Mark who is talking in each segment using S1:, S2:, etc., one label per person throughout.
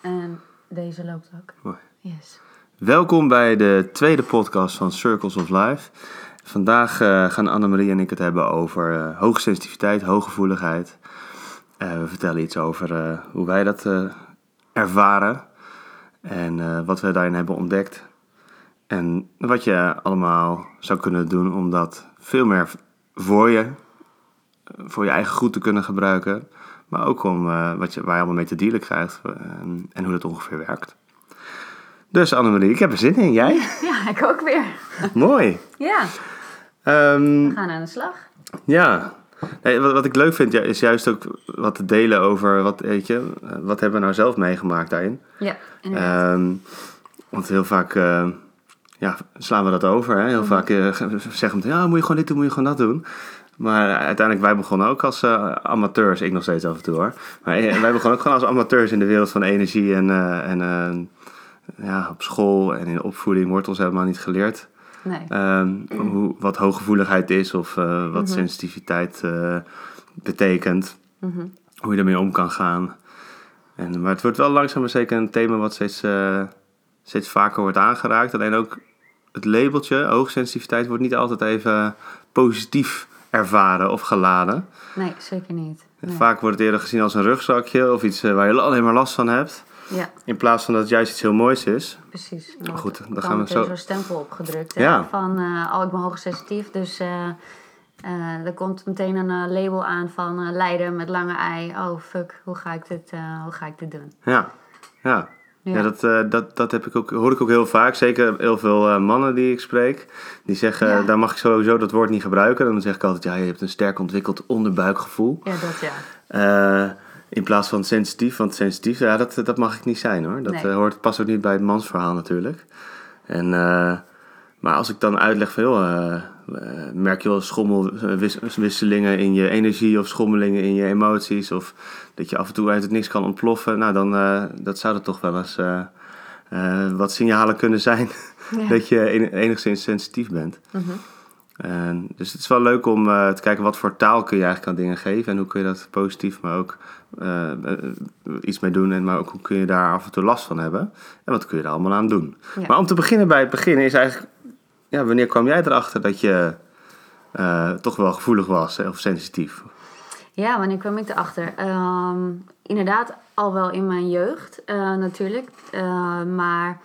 S1: En deze loopt ook.
S2: Mooi.
S1: Yes.
S2: Welkom bij de tweede podcast van Circles of Life. Vandaag eh, gaan Annemarie en ik het hebben over eh, hoogsensitiviteit, hooggevoeligheid. Eh, we vertellen iets over eh, hoe wij dat eh, ervaren en eh, wat we daarin hebben ontdekt. En wat je allemaal zou kunnen doen om dat veel meer voor je, voor je eigen goed te kunnen gebruiken. Maar ook om eh, wat je, waar je allemaal mee te dealen krijgt eh, en hoe dat ongeveer werkt. Dus Annemarie, ik heb er zin in. Jij?
S1: Ja, ik ook weer.
S2: Mooi.
S1: Ja,
S2: Ehm,
S1: we gaan aan de slag.
S2: ja. Nee, wat, wat ik leuk vind ja, is juist ook wat te delen over wat, weet je, eh, wat hebben we nou zelf meegemaakt daarin.
S1: Ja, inderdaad.
S2: Ehm, want heel vaak eh, ja, slaan we dat over. Hè? Heel vaak eh, ge- zeggen we, ja, moet je gewoon dit doen, moet je gewoon dat doen. Maar uiteindelijk, wij begonnen ook als eh, amateurs. Ik nog steeds af en toe hoor. Maar eh, wij begonnen ook gewoon als amateurs in de wereld van energie. En, eh, en eh, ja, op school en in de opvoeding wordt ons helemaal niet geleerd.
S1: nee.
S2: Ehm, hoe, wat hooggevoeligheid is of eh, wat sensitiviteit eh, betekent.
S1: Mhm.
S2: Hoe je ermee om kan gaan. En, maar het wordt wel langzaam maar zeker een thema wat steeds, eh, steeds vaker wordt aangeraakt. Alleen ook het labeltje hoogsensitiviteit wordt niet altijd even positief ervaren of geladen.
S1: nee, zeker niet. Nee.
S2: Vaak wordt het eerder gezien als een rugzakje of iets eh, waar je alleen maar last van hebt.
S1: Ja,
S2: In plaats van dat het juist iets heel moois is.
S1: precies. Dan
S2: Goed,
S1: wordt-
S2: dan
S1: kan
S2: gaan we
S1: meteen
S2: zo-
S1: zo'n stempel opgedrukt. hè,
S2: Ja.
S1: Van, eh, oh, ik ben hoogsensitief, dus... eh eh, er komt meteen een eh, label aan van eh leider met lange ei. Oh fuck, hoe ga ik dit, eh, hoe ga ik dit doen?
S2: Ja, ja.
S1: Ja.
S2: Ja, dat, eh, dat, dat heb ik ook, hoor ik ook heel vaak. Zeker heel veel eh, mannen die ik spreek. Die zeggen, eh,
S1: Ja.
S2: daar mag ik sowieso dat woord niet gebruiken. Dan zeg ik altijd, ja, je hebt een sterk ontwikkeld onderbuikgevoel.
S1: Ja, dat ja.
S2: Eh, in plaats van sensitief, want sensitief, ja, dat, dat mag ik niet zijn hoor. Dat
S1: Nee.
S2: eh, hoort, past ook niet bij het mansverhaal natuurlijk. En, eh, maar als ik dan uitleg van, joh, eh, eh, merk je wel schommelwisselingen in je energie of schommelingen in je emoties. Of dat je af en toe uit het niks kan ontploffen. Nou, dan eh, dat zou dat toch wel eens eh, eh, wat signalen kunnen zijn
S1: Ja. Mhm.
S2: dat je en- enigszins sensitief bent. En dus het is wel leuk om eh, te kijken wat voor taal kun je eigenlijk aan dingen geven en hoe kun je dat positief, maar ook eh, eh, iets mee doen. En maar ook hoe kun je daar af en toe last van hebben en wat kun je daar allemaal aan doen.
S1: Ja.
S2: Maar om te beginnen bij het begin is eigenlijk, ja, wanneer kwam jij erachter dat je eh, toch wel gevoelig was eh, of sensitief?
S1: Ja, wanneer kwam ik erachter? Ehm inderdaad, al wel in mijn jeugd eh, natuurlijk. Eh, maar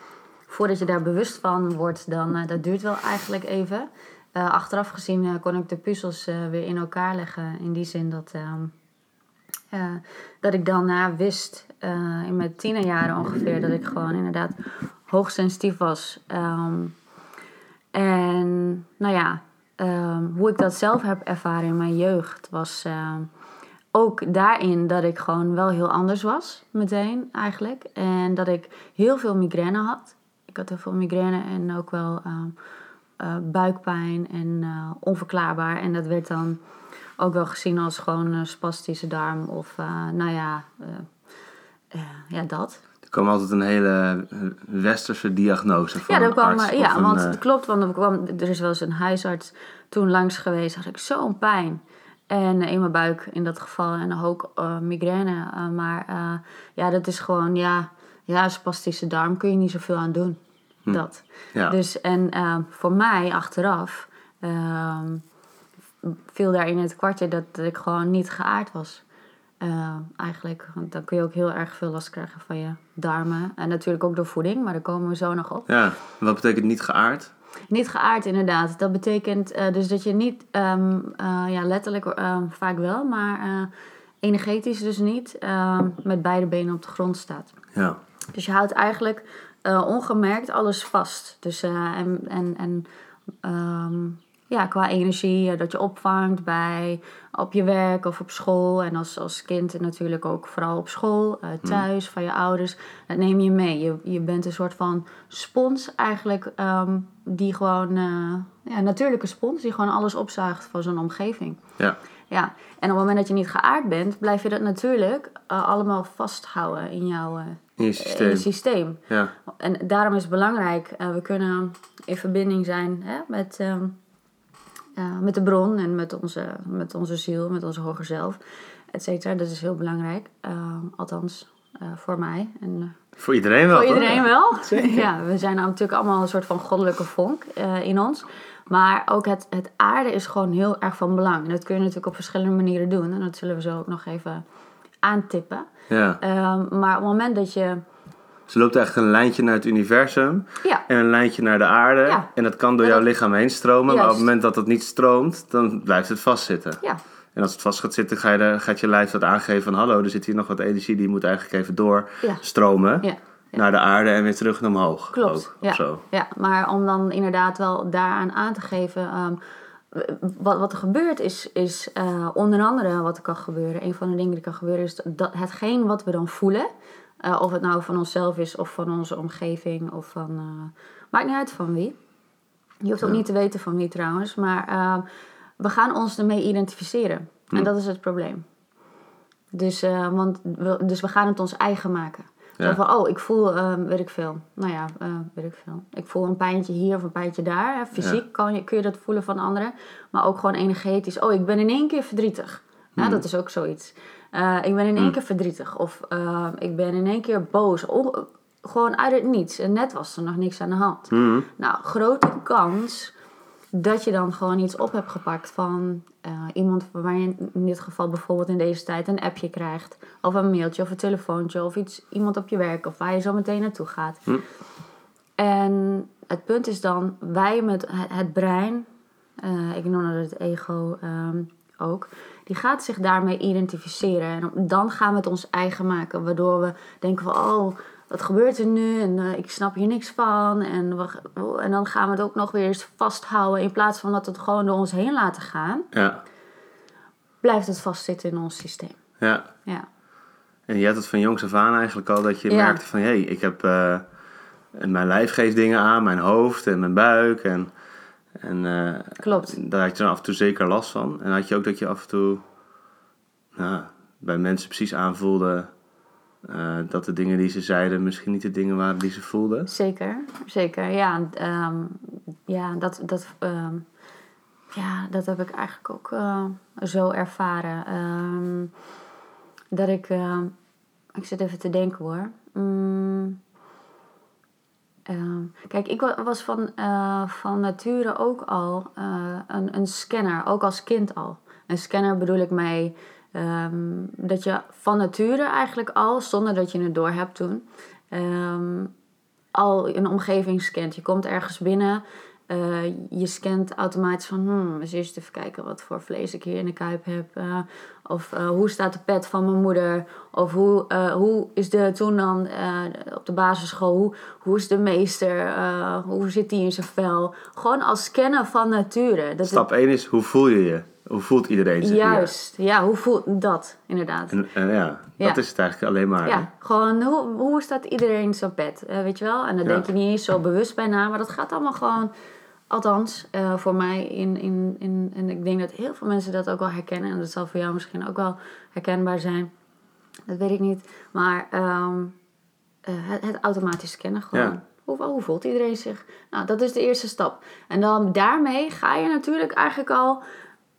S1: voordat je daar bewust van wordt, dan eh, dat duurt wel eigenlijk even. Eh, achteraf gezien eh, kon ik de puzzels eh, weer in elkaar leggen. In die zin dat, ehm, eh, dat ik daarna wist, eh, in mijn tienerjaren ongeveer, dat ik gewoon inderdaad hoogsensitief was. Ehm, en nou ja, ehm, hoe ik dat zelf heb ervaren in mijn jeugd was ehm, ook daarin dat ik gewoon wel heel anders was, meteen eigenlijk. En dat ik heel veel migraine had. Ik had heel veel migraine en ook wel ehm, eh, buikpijn en eh, onverklaarbaar. En dat werd dan ook wel gezien als gewoon een spastische darm of eh, nou ja, eh, eh, ja, dat.
S2: Er kwam altijd een hele eh, westerse diagnose van
S1: Ja, dat
S2: een
S1: kwam,
S2: arts
S1: eh,
S2: of
S1: ja
S2: een,
S1: want
S2: eh,
S1: het klopt, want er, kwam, er is wel eens een huisarts toen langs geweest. Had ik zo'n pijn. En eh, in mijn buik in dat geval. En ook eh, migraine. Eh, maar eh, ja, dat is gewoon, ja, ja, spastische darm kun je niet zoveel aan doen. Dat.
S2: Hm. ja.
S1: Dus en eh, voor mij achteraf ehm, viel daar in het kwartje dat ik gewoon niet geaard was. Eh, eigenlijk, want dan kun je ook heel erg veel last krijgen van je darmen. En natuurlijk ook door voeding, maar daar komen we zo nog op.
S2: ja, wat betekent niet geaard?
S1: Niet geaard, inderdaad. Dat betekent eh, dus dat je niet, ehm, eh, ja, letterlijk ehm, vaak wel, maar eh, energetisch dus niet, ehm, met beide benen op de grond staat.
S2: Ja,
S1: Dus je houdt eigenlijk eh, ongemerkt alles vast. Dus, eh, en en, en ehm, ja, qua energie, eh, dat je opvangt bij, op je werk of op school. En als, als kind natuurlijk ook vooral op school, eh, thuis, van je ouders. Dat neem je mee. Je, je bent een soort van spons eigenlijk, ehm, die gewoon, eh, ja, een natuurlijke spons, die gewoon alles opzuigt van zo'n omgeving.
S2: ja.
S1: Ja, en op het moment dat je niet geaard bent, blijf je dat natuurlijk eh, allemaal vasthouden in jouw eh,
S2: In je
S1: in
S2: systeem.
S1: het systeem.
S2: Ja,
S1: En daarom is het belangrijk, eh, we kunnen in verbinding zijn hè, met, ehm, eh, met de bron en met onze, met onze ziel, met onze hoger zelf, et cetera. Dat is heel belangrijk. Eh, althans, eh, voor mij. En, eh,
S2: Voor iedereen wel.
S1: voor
S2: toch?
S1: iedereen wel.
S2: Zeker.
S1: Ja, we zijn nou natuurlijk allemaal een soort van goddelijke vonk eh, in ons. Maar ook het, het aarde is gewoon heel erg van belang. En dat kun je natuurlijk op verschillende manieren doen. En dat zullen we zo ook nog even aantippen.
S2: Ja.
S1: Ehm, maar op het moment dat je...
S2: Ze loopt eigenlijk een lijntje naar het universum
S1: Ja,
S2: en een lijntje naar de aarde.
S1: Ja.
S2: En dat kan door
S1: Ja,
S2: jouw
S1: dat-
S2: lichaam heen stromen. Maar op het
S1: Juist.
S2: moment dat dat niet stroomt, dan blijft het vastzitten.
S1: ja,
S2: En als het vast gaat zitten, ga je de- gaat je lijf dat aangeven van... hallo, er zit hier nog wat energie, die moet eigenlijk even
S1: Ja.
S2: doorstromen...
S1: ja.
S2: naar de aarde en weer terug naar omhoog.
S1: Klopt,
S2: Ook,
S1: ja.
S2: of zo.
S1: Ja, maar om dan inderdaad wel daaraan aan te geven. ehm, wat, wat er gebeurt is, is eh, onder andere wat er kan gebeuren. Een van de dingen die kan gebeuren is dat hetgeen wat we dan voelen. eh, of het nou van onszelf is of van onze omgeving of van. eh, maakt niet uit van wie. Je hoeft ook
S2: Ja.
S1: niet te weten van wie trouwens. Maar ehm, we gaan ons ermee identificeren. En dat is het probleem. Dus, eh, want we, dus we gaan het ons eigen maken.
S2: Ja.
S1: Zo van, oh, ik voel, eh, weet ik veel. Nou ja, eh, weet ik veel. Ik voel een pijntje hier of een pijntje daar. hè. Fysiek kan je, kun je dat voelen van anderen. Maar ook gewoon energetisch. Oh, ik ben in één keer verdrietig. Ja, dat is ook zoiets. Eh, ik ben in één keer verdrietig. Of eh, ik ben in één keer boos. O- gewoon uit het niets. En net was er nog niks aan de hand. Nou, grote kans dat je dan gewoon iets op hebt gepakt van eh, iemand waar je in dit geval bijvoorbeeld in deze tijd een appje krijgt. Of een mailtje of een telefoontje of iets, iemand op je werk of waar je zo meteen naartoe gaat. En het punt is dan, wij met het, het brein, eh, ik noem dat het ego ehm, ook, die gaat zich daarmee identificeren. En dan gaan we het ons eigen maken, waardoor we denken van, oh, wat gebeurt er nu? En eh, ik snap hier niks van. En, we, oh, en dan gaan we het ook nog weer eens vasthouden, in plaats van dat we het gewoon door ons heen laten gaan,
S2: Ja.
S1: blijft het vastzitten in ons systeem.
S2: ja.
S1: Ja,
S2: En je had het van jongs af aan eigenlijk al dat je
S1: Ja.
S2: merkte van... hé, hey, ik heb... eh, en mijn lijf geeft dingen aan, mijn hoofd en mijn buik. En, en eh,
S1: klopt.
S2: daar had je dan af en toe zeker last van. En had je ook dat je af en toe nou, bij mensen precies aanvoelde... eh, dat de dingen die ze zeiden misschien niet de dingen waren die ze voelden.
S1: Zeker, zeker. Ja, en, ehm, ja, dat, dat, ehm, ja, dat heb ik eigenlijk ook eh, zo ervaren. Ehm, dat ik. ehm, ik zit even te denken hoor. Mm, ehm, kijk, ik wa- was van, eh, van nature ook al eh, een, een scanner, ook als kind al. Een scanner bedoel ik mee ehm, dat je van nature eigenlijk al, zonder dat je het door hebt toen, ehm, al een omgeving scant. Je komt ergens binnen, eh, je scant automatisch van... Hmm, eens eerst even kijken wat voor vlees ik hier in de kuip heb. eh, of eh, hoe staat de pet van mijn moeder? Of hoe, eh, hoe is de toen dan eh, op de basisschool... Hoe, hoe is de meester? Eh, hoe zit die in zijn vel? Gewoon als scannen van nature. Dat is-
S2: Stap 1 is, hoe voel je je? Hoe voelt iedereen zich hier?
S1: Juist, ja, hoe voelt dat inderdaad?
S2: En, en ja,
S1: Ja.
S2: dat is het eigenlijk alleen maar.
S1: Ja, gewoon hoe, hoe staat iedereen zijn pet, eh, weet je wel? En daar
S2: Ja.
S1: denk je niet eens zo bewust bij na, maar dat gaat allemaal gewoon, althans eh, voor mij, in, in, in, en ik denk dat heel veel mensen dat ook wel herkennen, en dat zal voor jou misschien ook wel herkenbaar zijn, dat weet ik niet, maar ehm, eh, het, het automatisch scannen gewoon.
S2: Ja.
S1: Hoe, oh, hoe voelt iedereen zich? Nou, dat is de eerste stap. En dan daarmee ga je natuurlijk eigenlijk al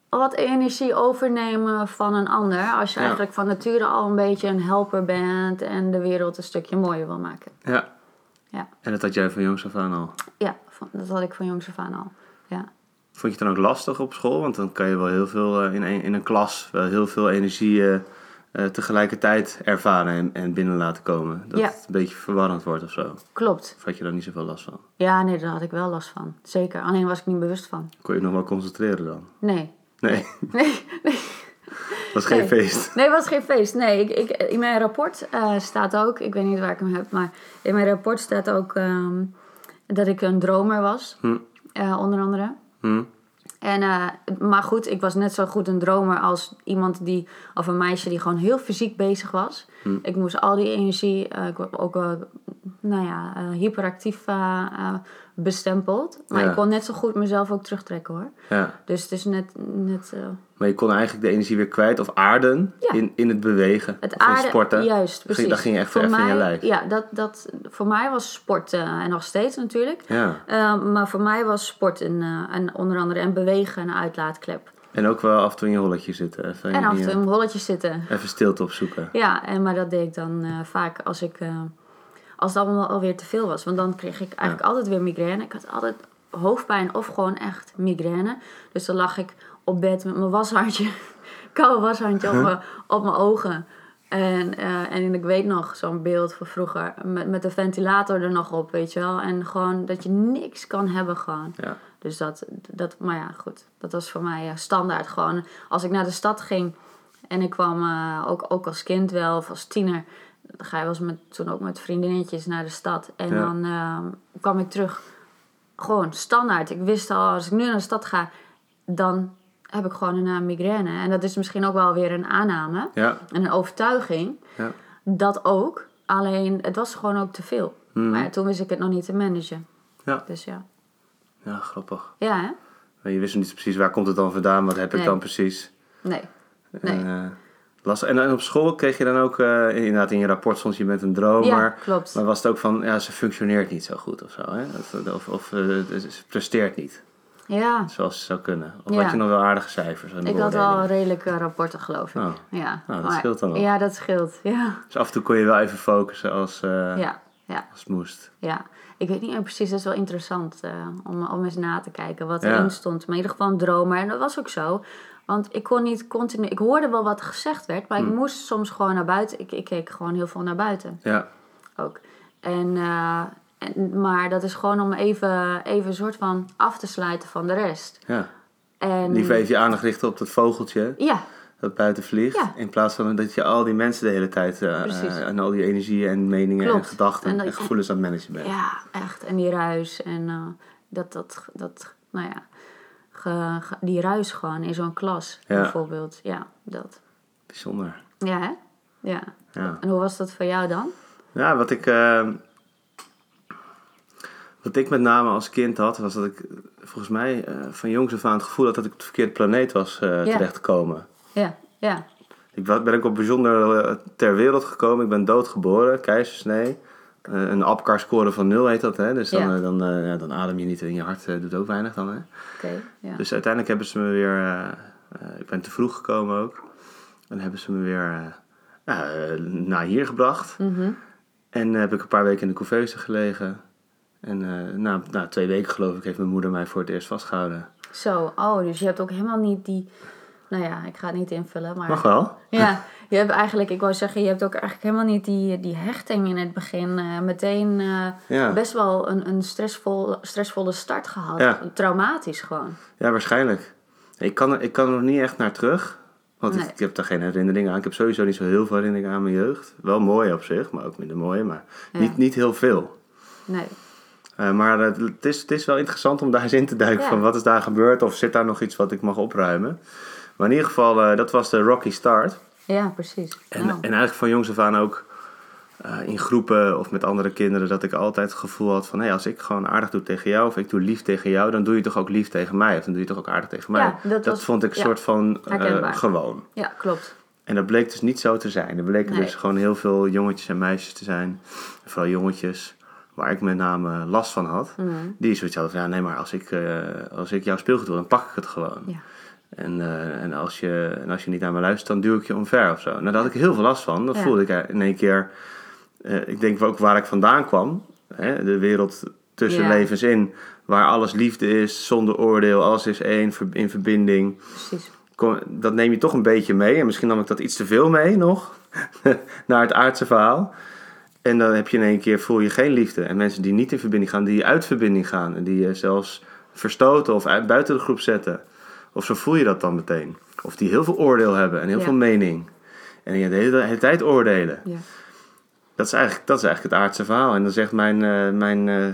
S1: wat energie overnemen van een ander. Als je
S2: Ja.
S1: eigenlijk van nature al een beetje een helper bent en de wereld een stukje mooier wil maken.
S2: Ja.
S1: Ja.
S2: En dat had jij van jongs af aan al.
S1: Ja, van- dat had ik van jongs af aan al. Ja.
S2: Vond je het dan ook lastig op school? Want dan kan je wel heel veel eh, in een, in een klas wel heel veel energie eh, eh, tegelijkertijd ervaren en, en binnen laten komen. Dat
S1: Ja.
S2: het een beetje verwarrend wordt of zo.
S1: Klopt.
S2: Of had je daar niet zoveel last van?
S1: Ja, nee, daar had ik wel last van. Zeker. Alleen was ik niet bewust van.
S2: Kon je nog wel concentreren dan?
S1: Nee.
S2: Nee,
S1: Nee, nee.
S2: dat was geen
S1: Nee.
S2: feest.
S1: Nee, het was geen feest. Nee, ik, ik, in mijn rapport eh, staat ook, ik weet niet waar ik hem heb, maar in mijn rapport staat ook ehm, dat ik een dromer was, eh, onder andere.
S2: Hm?
S1: En, eh, maar goed, ik was net zo goed een dromer als iemand die, of een meisje die gewoon heel fysiek bezig was.
S2: Hm.
S1: Ik moest al die energie, eh, ik werd ook wel, nou ja, eh, hyperactief eh, eh, bestempeld. Maar
S2: Ja.
S1: ik kon net zo goed mezelf ook terugtrekken hoor.
S2: Ja.
S1: Dus het is net, net eh,
S2: Maar je kon eigenlijk de energie weer kwijt of aarden
S1: Ja.
S2: in, in het bewegen.
S1: Het
S2: of in
S1: aarde,
S2: sporten.
S1: juist,
S2: Dan
S1: precies.
S2: ging- Dan ging je echt
S1: Voor
S2: even
S1: mij,
S2: in je lijf.
S1: Ja, dat, dat, voor mij was sport, eh, en nog steeds natuurlijk,
S2: Ja.
S1: Eh, maar voor mij was sport een, eh, een, onder andere een bewegen een uitlaatklep.
S2: En ook wel af en toe in je holletje zitten. Even,
S1: En af en
S2: hier-
S1: toe in rolletjes zitten.
S2: even stilte opzoeken.
S1: Ja, en, maar dat deed ik dan eh, vaak als ik... eh, als het allemaal alweer te veel was. Want dan kreeg ik eigenlijk altijd weer migraine. Ik had altijd hoofdpijn of gewoon echt migraine. Dus dan lag ik op bed met mijn washandje. koude washandje op, mijn, op mijn ogen. En, eh, en ik weet nog zo'n beeld van vroeger. Met, met de ventilator er nog op, weet je wel. En gewoon dat je niks kan hebben gewoon.
S2: Ja.
S1: Dus dat, dat, maar ja, goed. Dat was voor mij eh, standaard gewoon. Als ik naar de stad ging en ik kwam eh, ook, ook als kind wel of als tiener. Dan ga je wel eens met, toen ook met vriendinnetjes naar de stad. En
S2: Ja.
S1: dan eh, kwam ik terug. Gewoon standaard. Ik wist al, als ik nu naar de stad ga, dan heb ik gewoon een eh, migraine. En dat is misschien ook wel weer een aanname
S2: Ja,
S1: en een overtuiging.
S2: ja.
S1: Dat ook. Alleen, het was gewoon ook te veel. Maar ja, toen wist ik het nog niet te managen.
S2: Mhm. Ja.
S1: Dus ja.
S2: ja grappig.
S1: Ja, hè?
S2: Maar je wist nog niet precies waar komt het dan vandaan, wat heb ik
S1: Nee.
S2: dan precies.
S1: Nee. Nee.
S2: En, eh, lastig. en dan op school kreeg je dan ook, eh, inderdaad in je rapport stond je met een droom,
S1: Ja,
S2: maar,
S1: klopt.
S2: maar was het ook van, ja, ze functioneert niet zo goed of zo, hè? Dat- Of, of eh, ze presteert niet,
S1: Ja,
S2: zoals ze zou kunnen. Of
S1: Ja.
S2: had je nog wel aardige cijfers? aan de
S1: ik had al
S2: beoordelingen?
S1: redelijke rapporten, geloof ik.
S2: Oh.
S1: Ja.
S2: Nou, dat scheelt dan wel.
S1: Ja, dat scheelt. Ja.
S2: Dus af en toe kon je wel even focussen als, eh,
S1: Ja. ja,
S2: als het moest.
S1: ja. Ik weet niet meer precies, dat is wel interessant eh, om, om eens na te kijken wat
S2: Ja.
S1: erin stond. Maar in ieder geval een dromer. En dat was ook zo. Want ik kon niet continu... Ik hoorde wel wat gezegd werd, maar
S2: Hmm.
S1: ik moest soms gewoon naar buiten. Ik, ik keek gewoon heel veel naar buiten
S2: Ja,
S1: ook. En, eh, en, maar dat is gewoon om even, even een soort van af te sluiten van de rest.
S2: ja.
S1: En,
S2: Liever even je aandacht richten op dat vogeltje
S1: Ja,
S2: dat buiten vliegt.
S1: Ja.
S2: In plaats van dat je al die mensen de hele tijd eh,
S1: Precies.
S2: eh, en al die energie en meningen
S1: Klopt.
S2: en gedachten
S1: En
S2: en,
S1: dat je-
S2: gevoelens aan het managen bent.
S1: Ja, echt. En die ruis. En eh, dat, dat, dat, nou ja, ge- ge- die ruis gewoon in zo'n klas
S2: Ja.
S1: bijvoorbeeld. Ja, dat.
S2: Bijzonder.
S1: Ja, hè? Ja.
S2: Ja.
S1: En hoe was dat voor jou dan?
S2: Ja, wat ik, eh, wat ik met name als kind had, was dat ik eh, volgens mij eh, van jongs af aan het gevoel had dat ik op de verkeerde planeet was eh terechtgekomen.
S1: Ja, ja.
S2: Ik wa- ben ook op bijzonder eh, ter wereld gekomen. Ik ben doodgeboren, keizersnee. Eh, een APCAR-score van 0 heet dat, hè? Dus dan,
S1: Ja.
S2: eh, dan, eh, ja, dan adem je niet en je hart eh, doet ook weinig dan, hè?
S1: Oké, ja.
S2: Dus uiteindelijk hebben ze me weer... eh, eh, ik ben te vroeg gekomen ook. En hebben ze me weer eh, ja, eh, naar hier gebracht.
S1: Mhm.
S2: En eh, heb ik een paar weken in de couveuse gelegen. En eh, na, na twee weken geloof ik heeft mijn moeder mij voor het eerst vastgehouden.
S1: Zo, oh, dus je hebt ook helemaal niet die... Nou ja, ik ga het niet invullen, maar...
S2: Mag wel.
S1: Ja, je hebt eigenlijk, ik wou zeggen, je hebt ook eigenlijk helemaal niet die, die hechting in het begin. eh, meteen eh,
S2: Ja.
S1: best wel een, een stressvol, stressvolle start gehad.
S2: Ja.
S1: Traumatisch gewoon.
S2: Ja, waarschijnlijk. Ik kan, er- ik kan er niet echt naar terug. Want
S1: Nee.
S2: ik, ik heb daar geen herinneringen aan. Ik heb sowieso niet zo heel veel herinneringen aan mijn jeugd. Wel mooi op zich, maar ook minder mooi. Maar
S1: Ja.
S2: niet, niet heel veel.
S1: Nee.
S2: Eh, maar het, het is, het is wel interessant om daar eens in te duiken.
S1: Ja.
S2: Van wat is daar gebeurd? Of zit daar nog iets wat ik mag opruimen? Maar in ieder geval, eh, dat was de Rocky Start.
S1: Ja, precies.
S2: En, eh,
S1: Nou,
S2: en eigenlijk van jongs af aan ook eh, in groepen of met andere kinderen, dat ik altijd het gevoel had van hé, als ik gewoon aardig doe tegen jou of ik doe lief tegen jou, dan doe je toch ook lief tegen mij of dan doe je toch ook aardig tegen mij.
S1: Ja, dat was-
S2: vond ik een
S1: ja,
S2: soort van eh,
S1: herkenbaar.
S2: gewoon.
S1: ja, klopt.
S2: En dat bleek dus niet zo te zijn. Er bleken
S1: Nee.
S2: dus gewoon heel veel jongetjes en meisjes te zijn, vooral jongetjes, waar ik met name last van had.
S1: Mhm. Mm.
S2: Die zoiets hadden van ja, nee, maar als ik, eh, als ik jouw speelgoed wil, dan pak ik het gewoon.
S1: Ja.
S2: En, eh, en, als je, en als je niet naar me luistert, dan duw ik je omver of zo. Nou, daar had ik heel veel last van. Dat
S1: Ja.
S2: voelde ik in één keer. eh, ik denk ook waar ik vandaan kwam. Hè, de wereld tussen
S1: Ja.
S2: levens in. Waar alles liefde is, zonder oordeel. Alles is één, ver- in verbinding.
S1: Precies.
S2: Kom, dat neem je toch een beetje mee. En misschien nam ik dat iets te veel mee nog. naar het aardse verhaal. En dan heb je in één keer, voel je geen liefde. En mensen die niet in verbinding gaan, die uit verbinding gaan. En die je zelfs verstoten of uit, buiten de groep zetten. Of zo voel je dat dan meteen. Of die heel veel oordeel hebben en heel
S1: Ja.
S2: veel mening. En die de hele, de hele tijd oordelen.
S1: Ja.
S2: Dat is eigenlijk, dat is eigenlijk het aardse verhaal. En dan zegt mijn, eh, mijn eh,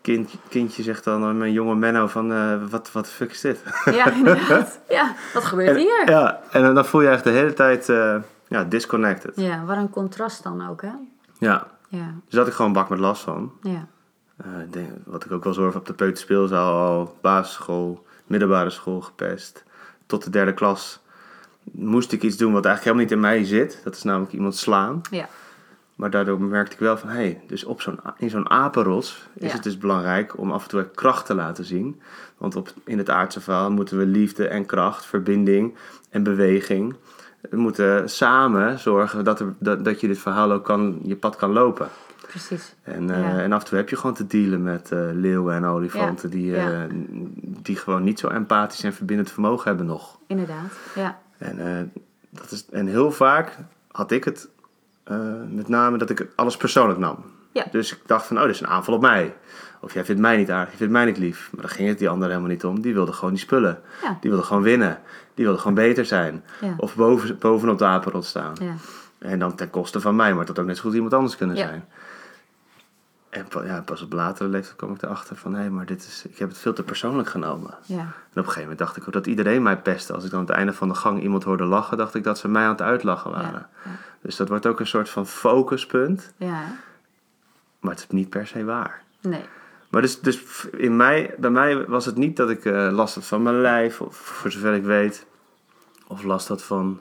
S2: kind, kindje, zegt dan eh, mijn jonge Menno van... eh, wat, wat de fuck is dit?
S1: ja, inderdaad. Ja, wat gebeurt hier?
S2: Ja, en eh, dan- dan voel je echt de hele tijd eh, ja, disconnected.
S1: Ja, wat een contrast dan ook, hè?
S2: Ja.
S1: Ja,
S2: Dus dat ik gewoon bak met last van.
S1: ja.
S2: Eh, ik denk, wat ik ook wel zorg op de peuterspeelzaal al, basisschool, middelbare school gepest. Tot de derde klas moest ik iets doen wat eigenlijk helemaal niet in mij zit. Dat is namelijk iemand slaan.
S1: Ja,
S2: Maar daardoor merkte ik wel van, hé, hey, dus op zo'n, in zo'n apenrots is
S1: Ja.
S2: het dus belangrijk om af en toe kracht te laten zien. Want op, in het aardse verhaal moeten we liefde en kracht, verbinding en beweging. We moeten samen zorgen dat, er, dat, dat je dit verhaal ook kan, je pad kan lopen.
S1: precies.
S2: En, eh,
S1: Ja.
S2: en af en toe heb je gewoon te dealen met eh, leeuwen en olifanten
S1: Ja,
S2: Die,
S1: ja.
S2: eh, die gewoon niet zo empathisch en verbindend vermogen hebben nog.
S1: Inderdaad. Ja.
S2: En, eh, dat is, en heel vaak had ik het, eh, met name dat ik het alles persoonlijk nam.
S1: Ja.
S2: Dus ik dacht van, oh, dit is een aanval op mij. Of jij vindt mij niet aardig, je vindt mij niet lief. Maar daar ging het die ander helemaal niet om. Die wilde gewoon die spullen.
S1: Ja.
S2: Die wilde gewoon winnen. Die wilde gewoon beter zijn.
S1: Ja.
S2: Of boven, bovenop de apenrot staan.
S1: Ja.
S2: En dan ten koste van mij, maar het had ook net zo goed iemand anders kunnen
S1: Ja.
S2: zijn. En pa- ja, pas op latere leeftijd kwam ik erachter van, hé, maar dit is, ik heb het veel te persoonlijk genomen.
S1: Ja.
S2: En op een gegeven moment dacht ik ook dat iedereen mij pestte. Als ik dan aan het einde van de gang iemand hoorde lachen, dacht ik dat ze mij aan het uitlachen
S1: Ja.
S2: waren. Dus dat wordt ook een soort van focuspunt,
S1: Ja. ja.
S2: maar het is niet per se waar.
S1: Nee.
S2: Maar dus, dus in mij, bij mij was het niet dat ik eh, last had van mijn lijf, of voor zover ik weet, of last had van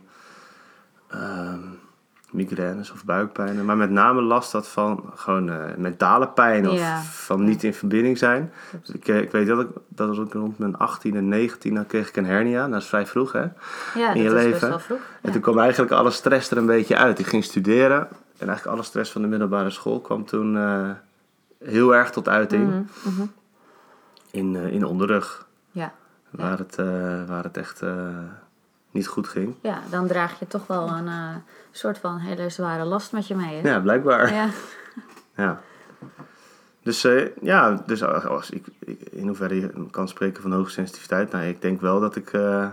S2: ehm, migraines of buikpijnen. Maar met name last had van gewoon eh, mentale pijn of
S1: Ja.
S2: van niet in verbinding zijn. Dus ik, eh, ik weet dat ik, dat was ook rond mijn 18e, 19 dan kreeg ik een hernia. Nou, Dat is vrij vroeg hè.
S1: Ja,
S2: In je
S1: dat is best
S2: leven.
S1: wel vroeg.
S2: En
S1: Ja.
S2: toen kwam eigenlijk alle stress er een beetje uit. Ik ging studeren en eigenlijk alle stress van de middelbare school kwam toen eh, heel erg tot uiting
S1: Mhm, mhm.
S2: in, eh, in onderrug.
S1: Ja.
S2: Waar, het, eh, waar het echt eh, niet goed ging.
S1: ja, dan draag je toch wel een eh, soort van hele zware last met je mee. Hè?
S2: Ja, blijkbaar. Ja.
S1: Ja.
S2: Dus eh, ja, dus als ik, ik in hoeverre je kan spreken van hoge sensitiviteit. Nou, ik denk wel dat ik eh,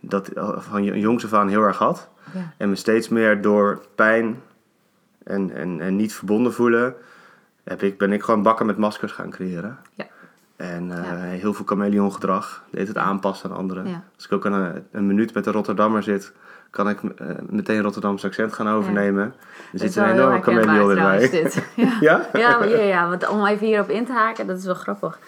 S2: dat al van jo- jongs af aan heel erg had.
S1: Ja.
S2: En me steeds meer door pijn en, en, en niet verbonden voelen, heb ik, ben ik gewoon bakken met maskers gaan creëren.
S1: Ja.
S2: En eh,
S1: Ja.
S2: heel veel chameleon gedrag, deed het aanpassen aan anderen.
S1: Ja.
S2: Als ik ook aan een, een minuut met een Rotterdammer zit, kan ik eh, meteen Rotterdams accent gaan overnemen. Er
S1: Dat is
S2: zit een
S1: wel heel
S2: enorme
S1: herkenbaar
S2: chameleon in
S1: trouwens,
S2: mij.
S1: dit. Ja.
S2: Ja?
S1: Ja, maar ja, ja, want om even hierop in te haken, dat is wel grappig.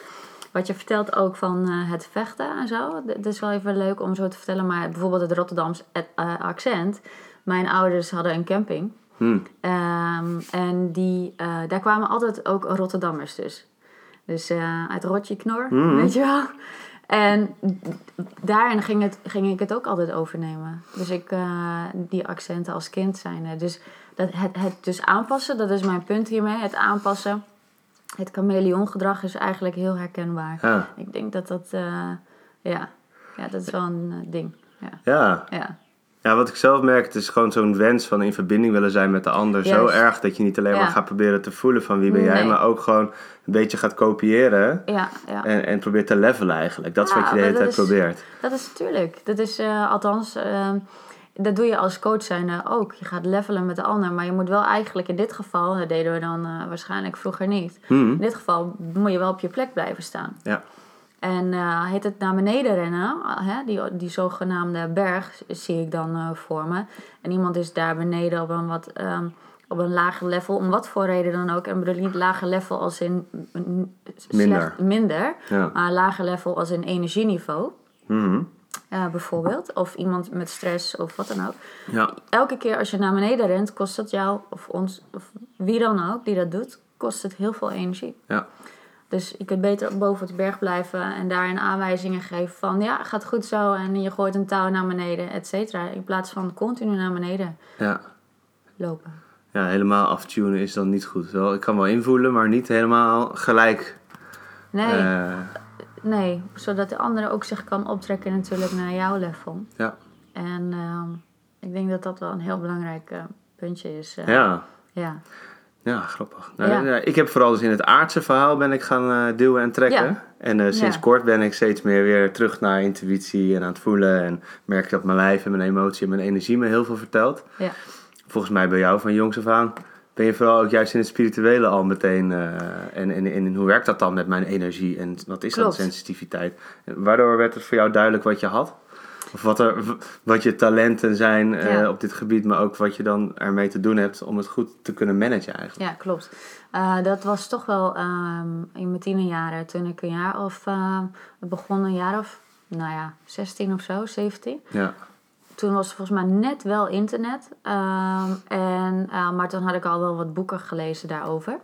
S1: Wat je vertelt ook van eh, het vechten en zo. Het is wel even leuk om zo te vertellen, maar bijvoorbeeld het Rotterdams et- eh, accent. Mijn ouders hadden een camping.
S2: Hm.
S1: Ehm, en die, eh, daar kwamen altijd ook Rotterdammers dus. Dus eh, uit Rotje Knor, weet je wel. En daarin ging, het, ging ik het ook altijd overnemen. Dus ik, eh, die accenten als kind zijn. er. Dus dat, het, het dus aanpassen, dat is mijn punt hiermee. Het aanpassen, het chameleongedrag is eigenlijk heel herkenbaar.
S2: Ja.
S1: Ik denk dat dat, eh, ja. ja, dat is wel een eh, ding. Ja,
S2: Ja.
S1: ja.
S2: ja, wat ik zelf merk, het is gewoon zo'n wens van in verbinding willen zijn met de ander. Zo
S1: Juist.
S2: erg dat je niet alleen
S1: Ja.
S2: maar gaat proberen te voelen van wie ben jij,
S1: Nee.
S2: maar ook gewoon een beetje gaat kopiëren.
S1: ja, ja.
S2: En, en probeert te levelen eigenlijk. Dat is
S1: Ja,
S2: wat je de hele
S1: maar
S2: tijd
S1: dat is-
S2: probeert.
S1: Dat is natuurlijk. Dat is eh, althans, ehm, dat doe je als coach zijnde ook. Je gaat levelen met de ander, maar je moet wel eigenlijk in dit geval, dat deden we dan eh, waarschijnlijk vroeger niet.
S2: Hmm.
S1: In dit geval moet je wel op je plek blijven staan.
S2: Ja.
S1: En eh, heet het naar beneden rennen, eh, hè, die, die zogenaamde berg zie ik dan eh, voor me. En iemand is daar beneden op een wat ehm, op een lager level, om wat voor reden dan ook. En ik bedoel niet lager level als in mm,
S2: Minder.
S1: slecht- minder
S2: Ja.
S1: maar lager level als in energieniveau.
S2: Mhm.
S1: Eh, bijvoorbeeld. Of iemand met stress of wat dan ook.
S2: ja.
S1: Elke keer als je naar beneden rent, kost het jou of ons, of wie dan ook die dat doet, kost het heel veel energie.
S2: Ja.
S1: Dus je kunt beter boven op de berg blijven en daarin aanwijzingen geven van ja, gaat goed zo en je gooit een touw naar beneden, et cetera. In plaats van continu naar beneden
S2: ja.
S1: lopen.
S2: Ja, helemaal aftunen is dan niet goed. Wel, ik kan wel invoelen, maar niet helemaal gelijk.
S1: Nee,
S2: Eh,
S1: nee. Zodat de andere ook zich kan optrekken natuurlijk naar jouw level.
S2: ja.
S1: En ehm, ik denk dat dat wel een heel belangrijk eh, puntje is. eh.
S2: Ja.
S1: ja.
S2: ja, grappig. Nou,
S1: Ja.
S2: ja, Ik heb vooral dus in het aardse verhaal ben ik gaan eh, duwen en trekken.
S1: Ja.
S2: En eh, sinds
S1: Ja.
S2: kort ben ik steeds meer weer terug naar intuïtie en aan het voelen. En merk ik dat mijn lijf en mijn emotie en mijn energie me heel veel vertelt.
S1: ja.
S2: Volgens mij bij jou van jongs af aan ben je vooral ook juist in het spirituele al meteen. eh, en, en, en hoe werkt dat dan met mijn energie en wat is dan
S1: Klopt.
S2: sensitiviteit? En Waardoor werd het voor jou duidelijk wat je had? Of wat, er, w- wat je talenten zijn eh,
S1: Ja.
S2: op dit gebied, maar ook wat je dan ermee te doen hebt om het goed te kunnen managen eigenlijk.
S1: Ja, klopt. Eh, dat was toch wel ehm, in mijn tienerjaren, toen ik een jaar eh, of... ehm, het begon een jaar of, nou ja, 16 of zo, 17.
S2: Ja,
S1: toen was er volgens mij net wel internet. ehm, en, eh, maar toen had ik al wel wat boeken gelezen daarover.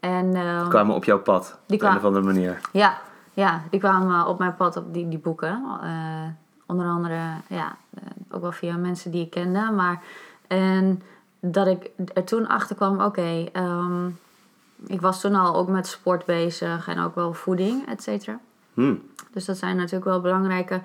S1: En, ehm,
S2: kwamen op jouw pad.
S1: Die
S2: op een
S1: kwamen-
S2: of andere manier.
S1: ja, ja, die kwamen eh, op mijn pad op die, die boeken. Eh, onder andere, ja, eh, ook wel via mensen die ik kende. Maar en dat ik er toen achter kwam, oké, ehm, ik was toen al ook met sport bezig en ook wel voeding, et cetera.
S2: Hm.
S1: Dus dat zijn natuurlijk wel belangrijke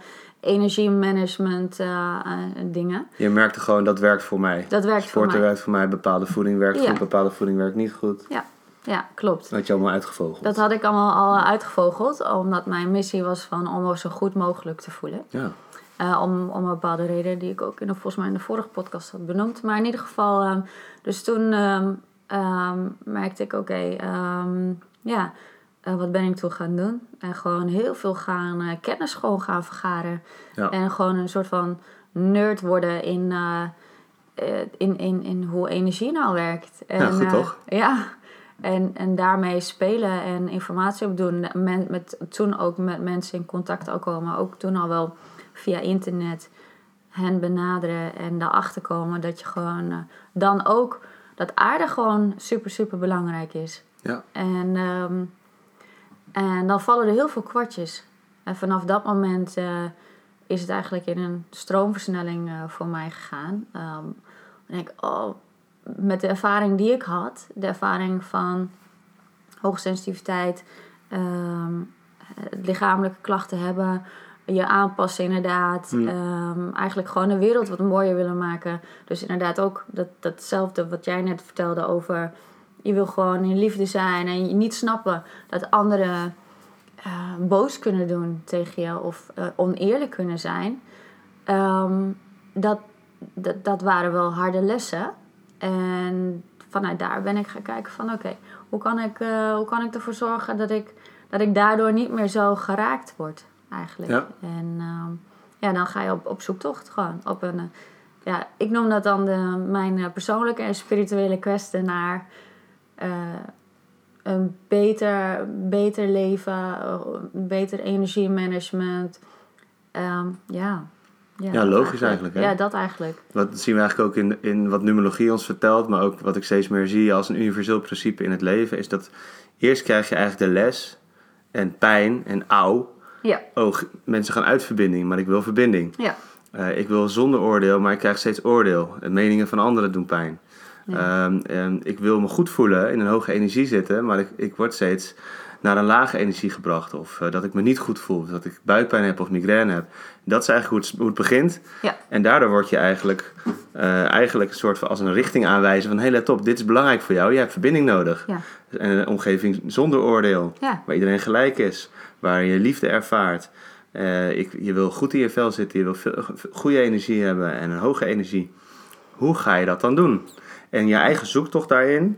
S1: energiemanagement eh eh, dingen.
S2: Je merkte gewoon dat werkt voor mij.
S1: Dat werkt voor
S2: Sporten
S1: mij.
S2: werkt voor mij, bepaalde voeding werkt
S1: Ja.
S2: goed, bepaalde voeding werkt niet goed.
S1: Ja, ja klopt.
S2: Dat had je allemaal uitgevogeld.
S1: Dat had ik allemaal al uitgevogeld, omdat mijn missie was van om me zo goed mogelijk te voelen.
S2: Ja.
S1: Eh, om, om een bepaalde reden die ik ook in de, volgens mij in de vorige podcast had benoemd. Maar in ieder geval, ehm, dus toen ehm, ehm, merkte ik, oké, ehm, ja, eh, wat ben ik toen gaan doen? En gewoon heel veel gaan eh, kennis gewoon gaan vergaren.
S2: Ja.
S1: En gewoon een soort van nerd worden in, eh, eh, in, in, in hoe energie nou werkt. En,
S2: goed,
S1: eh,
S2: toch?
S1: Ja. En, en daarmee spelen en informatie opdoen. Men, met, toen ook met mensen in contact al komen. Ook toen al wel via internet hen benaderen en daarachter komen dat je gewoon eh, dan ook dat aarde gewoon super, super belangrijk is.
S2: ja.
S1: En, ehm, en dan vallen er heel veel kwartjes. En vanaf dat moment eh, is het eigenlijk in een stroomversnelling eh, voor mij gegaan. Ehm dan denk ik, oh, met de ervaring die ik had, de ervaring van hoogsensitiviteit, ehm, het lichamelijke klachten hebben, je aanpassen inderdaad, ehm, eigenlijk gewoon de wereld wat mooier willen maken. Dus inderdaad ook dat, datzelfde wat jij net vertelde over je wil gewoon in liefde zijn en je niet snappen dat anderen eh, boos kunnen doen tegen je of eh, oneerlijk kunnen zijn. Ehm, dat, dat, dat waren wel harde lessen. En vanuit daar ben ik gaan kijken van oké, hoe, kan ik, eh, hoe kan ik ervoor zorgen dat ik, dat ik daardoor niet meer zo geraakt word eigenlijk.
S2: Ja.
S1: En ehm, ja, dan ga je op, op zoektocht gewoon. Op een, eh, ja, ik noem dat dan de, mijn eh, persoonlijke en spirituele kwestie naar eh, een beter, beter leven, eh, een beter energiemanagement. Ehm, ja.
S2: Ja,
S1: dat
S2: logisch eigenlijk, hè?
S1: Ja, dat eigenlijk.
S2: Wat zien we eigenlijk ook in, in wat numerologie ons vertelt, maar ook wat ik steeds meer zie als een universeel principe in het leven, is dat eerst krijg je eigenlijk de les en pijn en auw.
S1: Ja,
S2: Oh, g- mensen gaan uit verbinding, maar ik wil verbinding.
S1: ja,
S2: Eh, ik wil zonder oordeel, maar ik krijg steeds oordeel. En meningen van anderen doen pijn. Ehm, ehm, ik wil me goed voelen, in een hoge energie zitten, maar ik, ik word steeds naar een lage energie gebracht. Of eh, dat ik me niet goed voel, dat ik buikpijn heb of migraine heb. Dat is eigenlijk hoe het, hoe het begint.
S1: ja,
S2: En daardoor word je eigenlijk, eh, eigenlijk een soort van als een richting aanwijzen van... hé, hey, let op, dit is belangrijk voor jou. Je hebt verbinding nodig.
S1: ja,
S2: En een omgeving zonder oordeel.
S1: ja,
S2: Waar iedereen gelijk is. Waar je liefde ervaart. Eh, ik, je wil goed in je vel zitten. Je wil veel, goede energie hebben en een hoge energie. Hoe ga je dat dan doen? En je eigen zoektocht daarin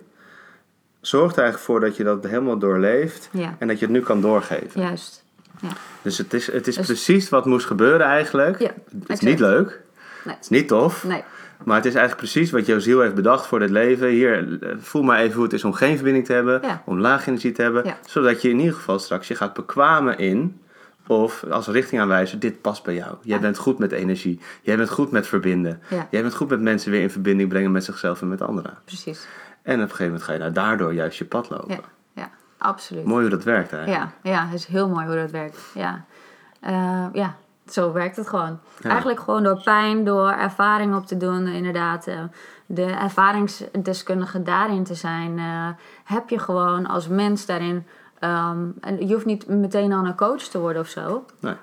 S2: zorgt er eigenlijk voor dat je dat helemaal doorleeft.
S1: ja,
S2: En dat je het nu kan doorgeven.
S1: juist. Ja,
S2: Dus het is, het is
S1: Dus-
S2: precies wat moest gebeuren eigenlijk.
S1: Ja,
S2: het is
S1: exact.
S2: niet leuk.
S1: Nee.
S2: Het is niet tof.
S1: nee,
S2: Maar het is eigenlijk precies wat jouw ziel heeft bedacht voor dit leven. Hier, eh, voel maar even hoe het is om geen verbinding te hebben,
S1: Ja.
S2: om laag energie te hebben.
S1: Ja.
S2: Zodat je in ieder geval straks je gaat bekwamen in, of als richting aanwijzen, dit past bij jou. Jij
S1: Ja.
S2: bent goed met energie, jij bent goed met verbinden.
S1: Ja.
S2: Jij bent goed met mensen weer in verbinding brengen met zichzelf en met anderen.
S1: precies.
S2: En op een gegeven moment ga je nou daardoor juist je pad lopen.
S1: Ja, ja, absoluut.
S2: Mooi hoe dat werkt eigenlijk.
S1: Ja, ja, het is heel mooi hoe dat werkt. Ja, Eh, ja zo werkt het gewoon.
S2: Ja.
S1: Eigenlijk gewoon door pijn, door ervaring op te doen, inderdaad. eh, de ervaringsdeskundige daarin te zijn, eh, heb je gewoon als mens daarin. ehm, en je hoeft niet meteen al een coach te worden of zo.
S2: Nee.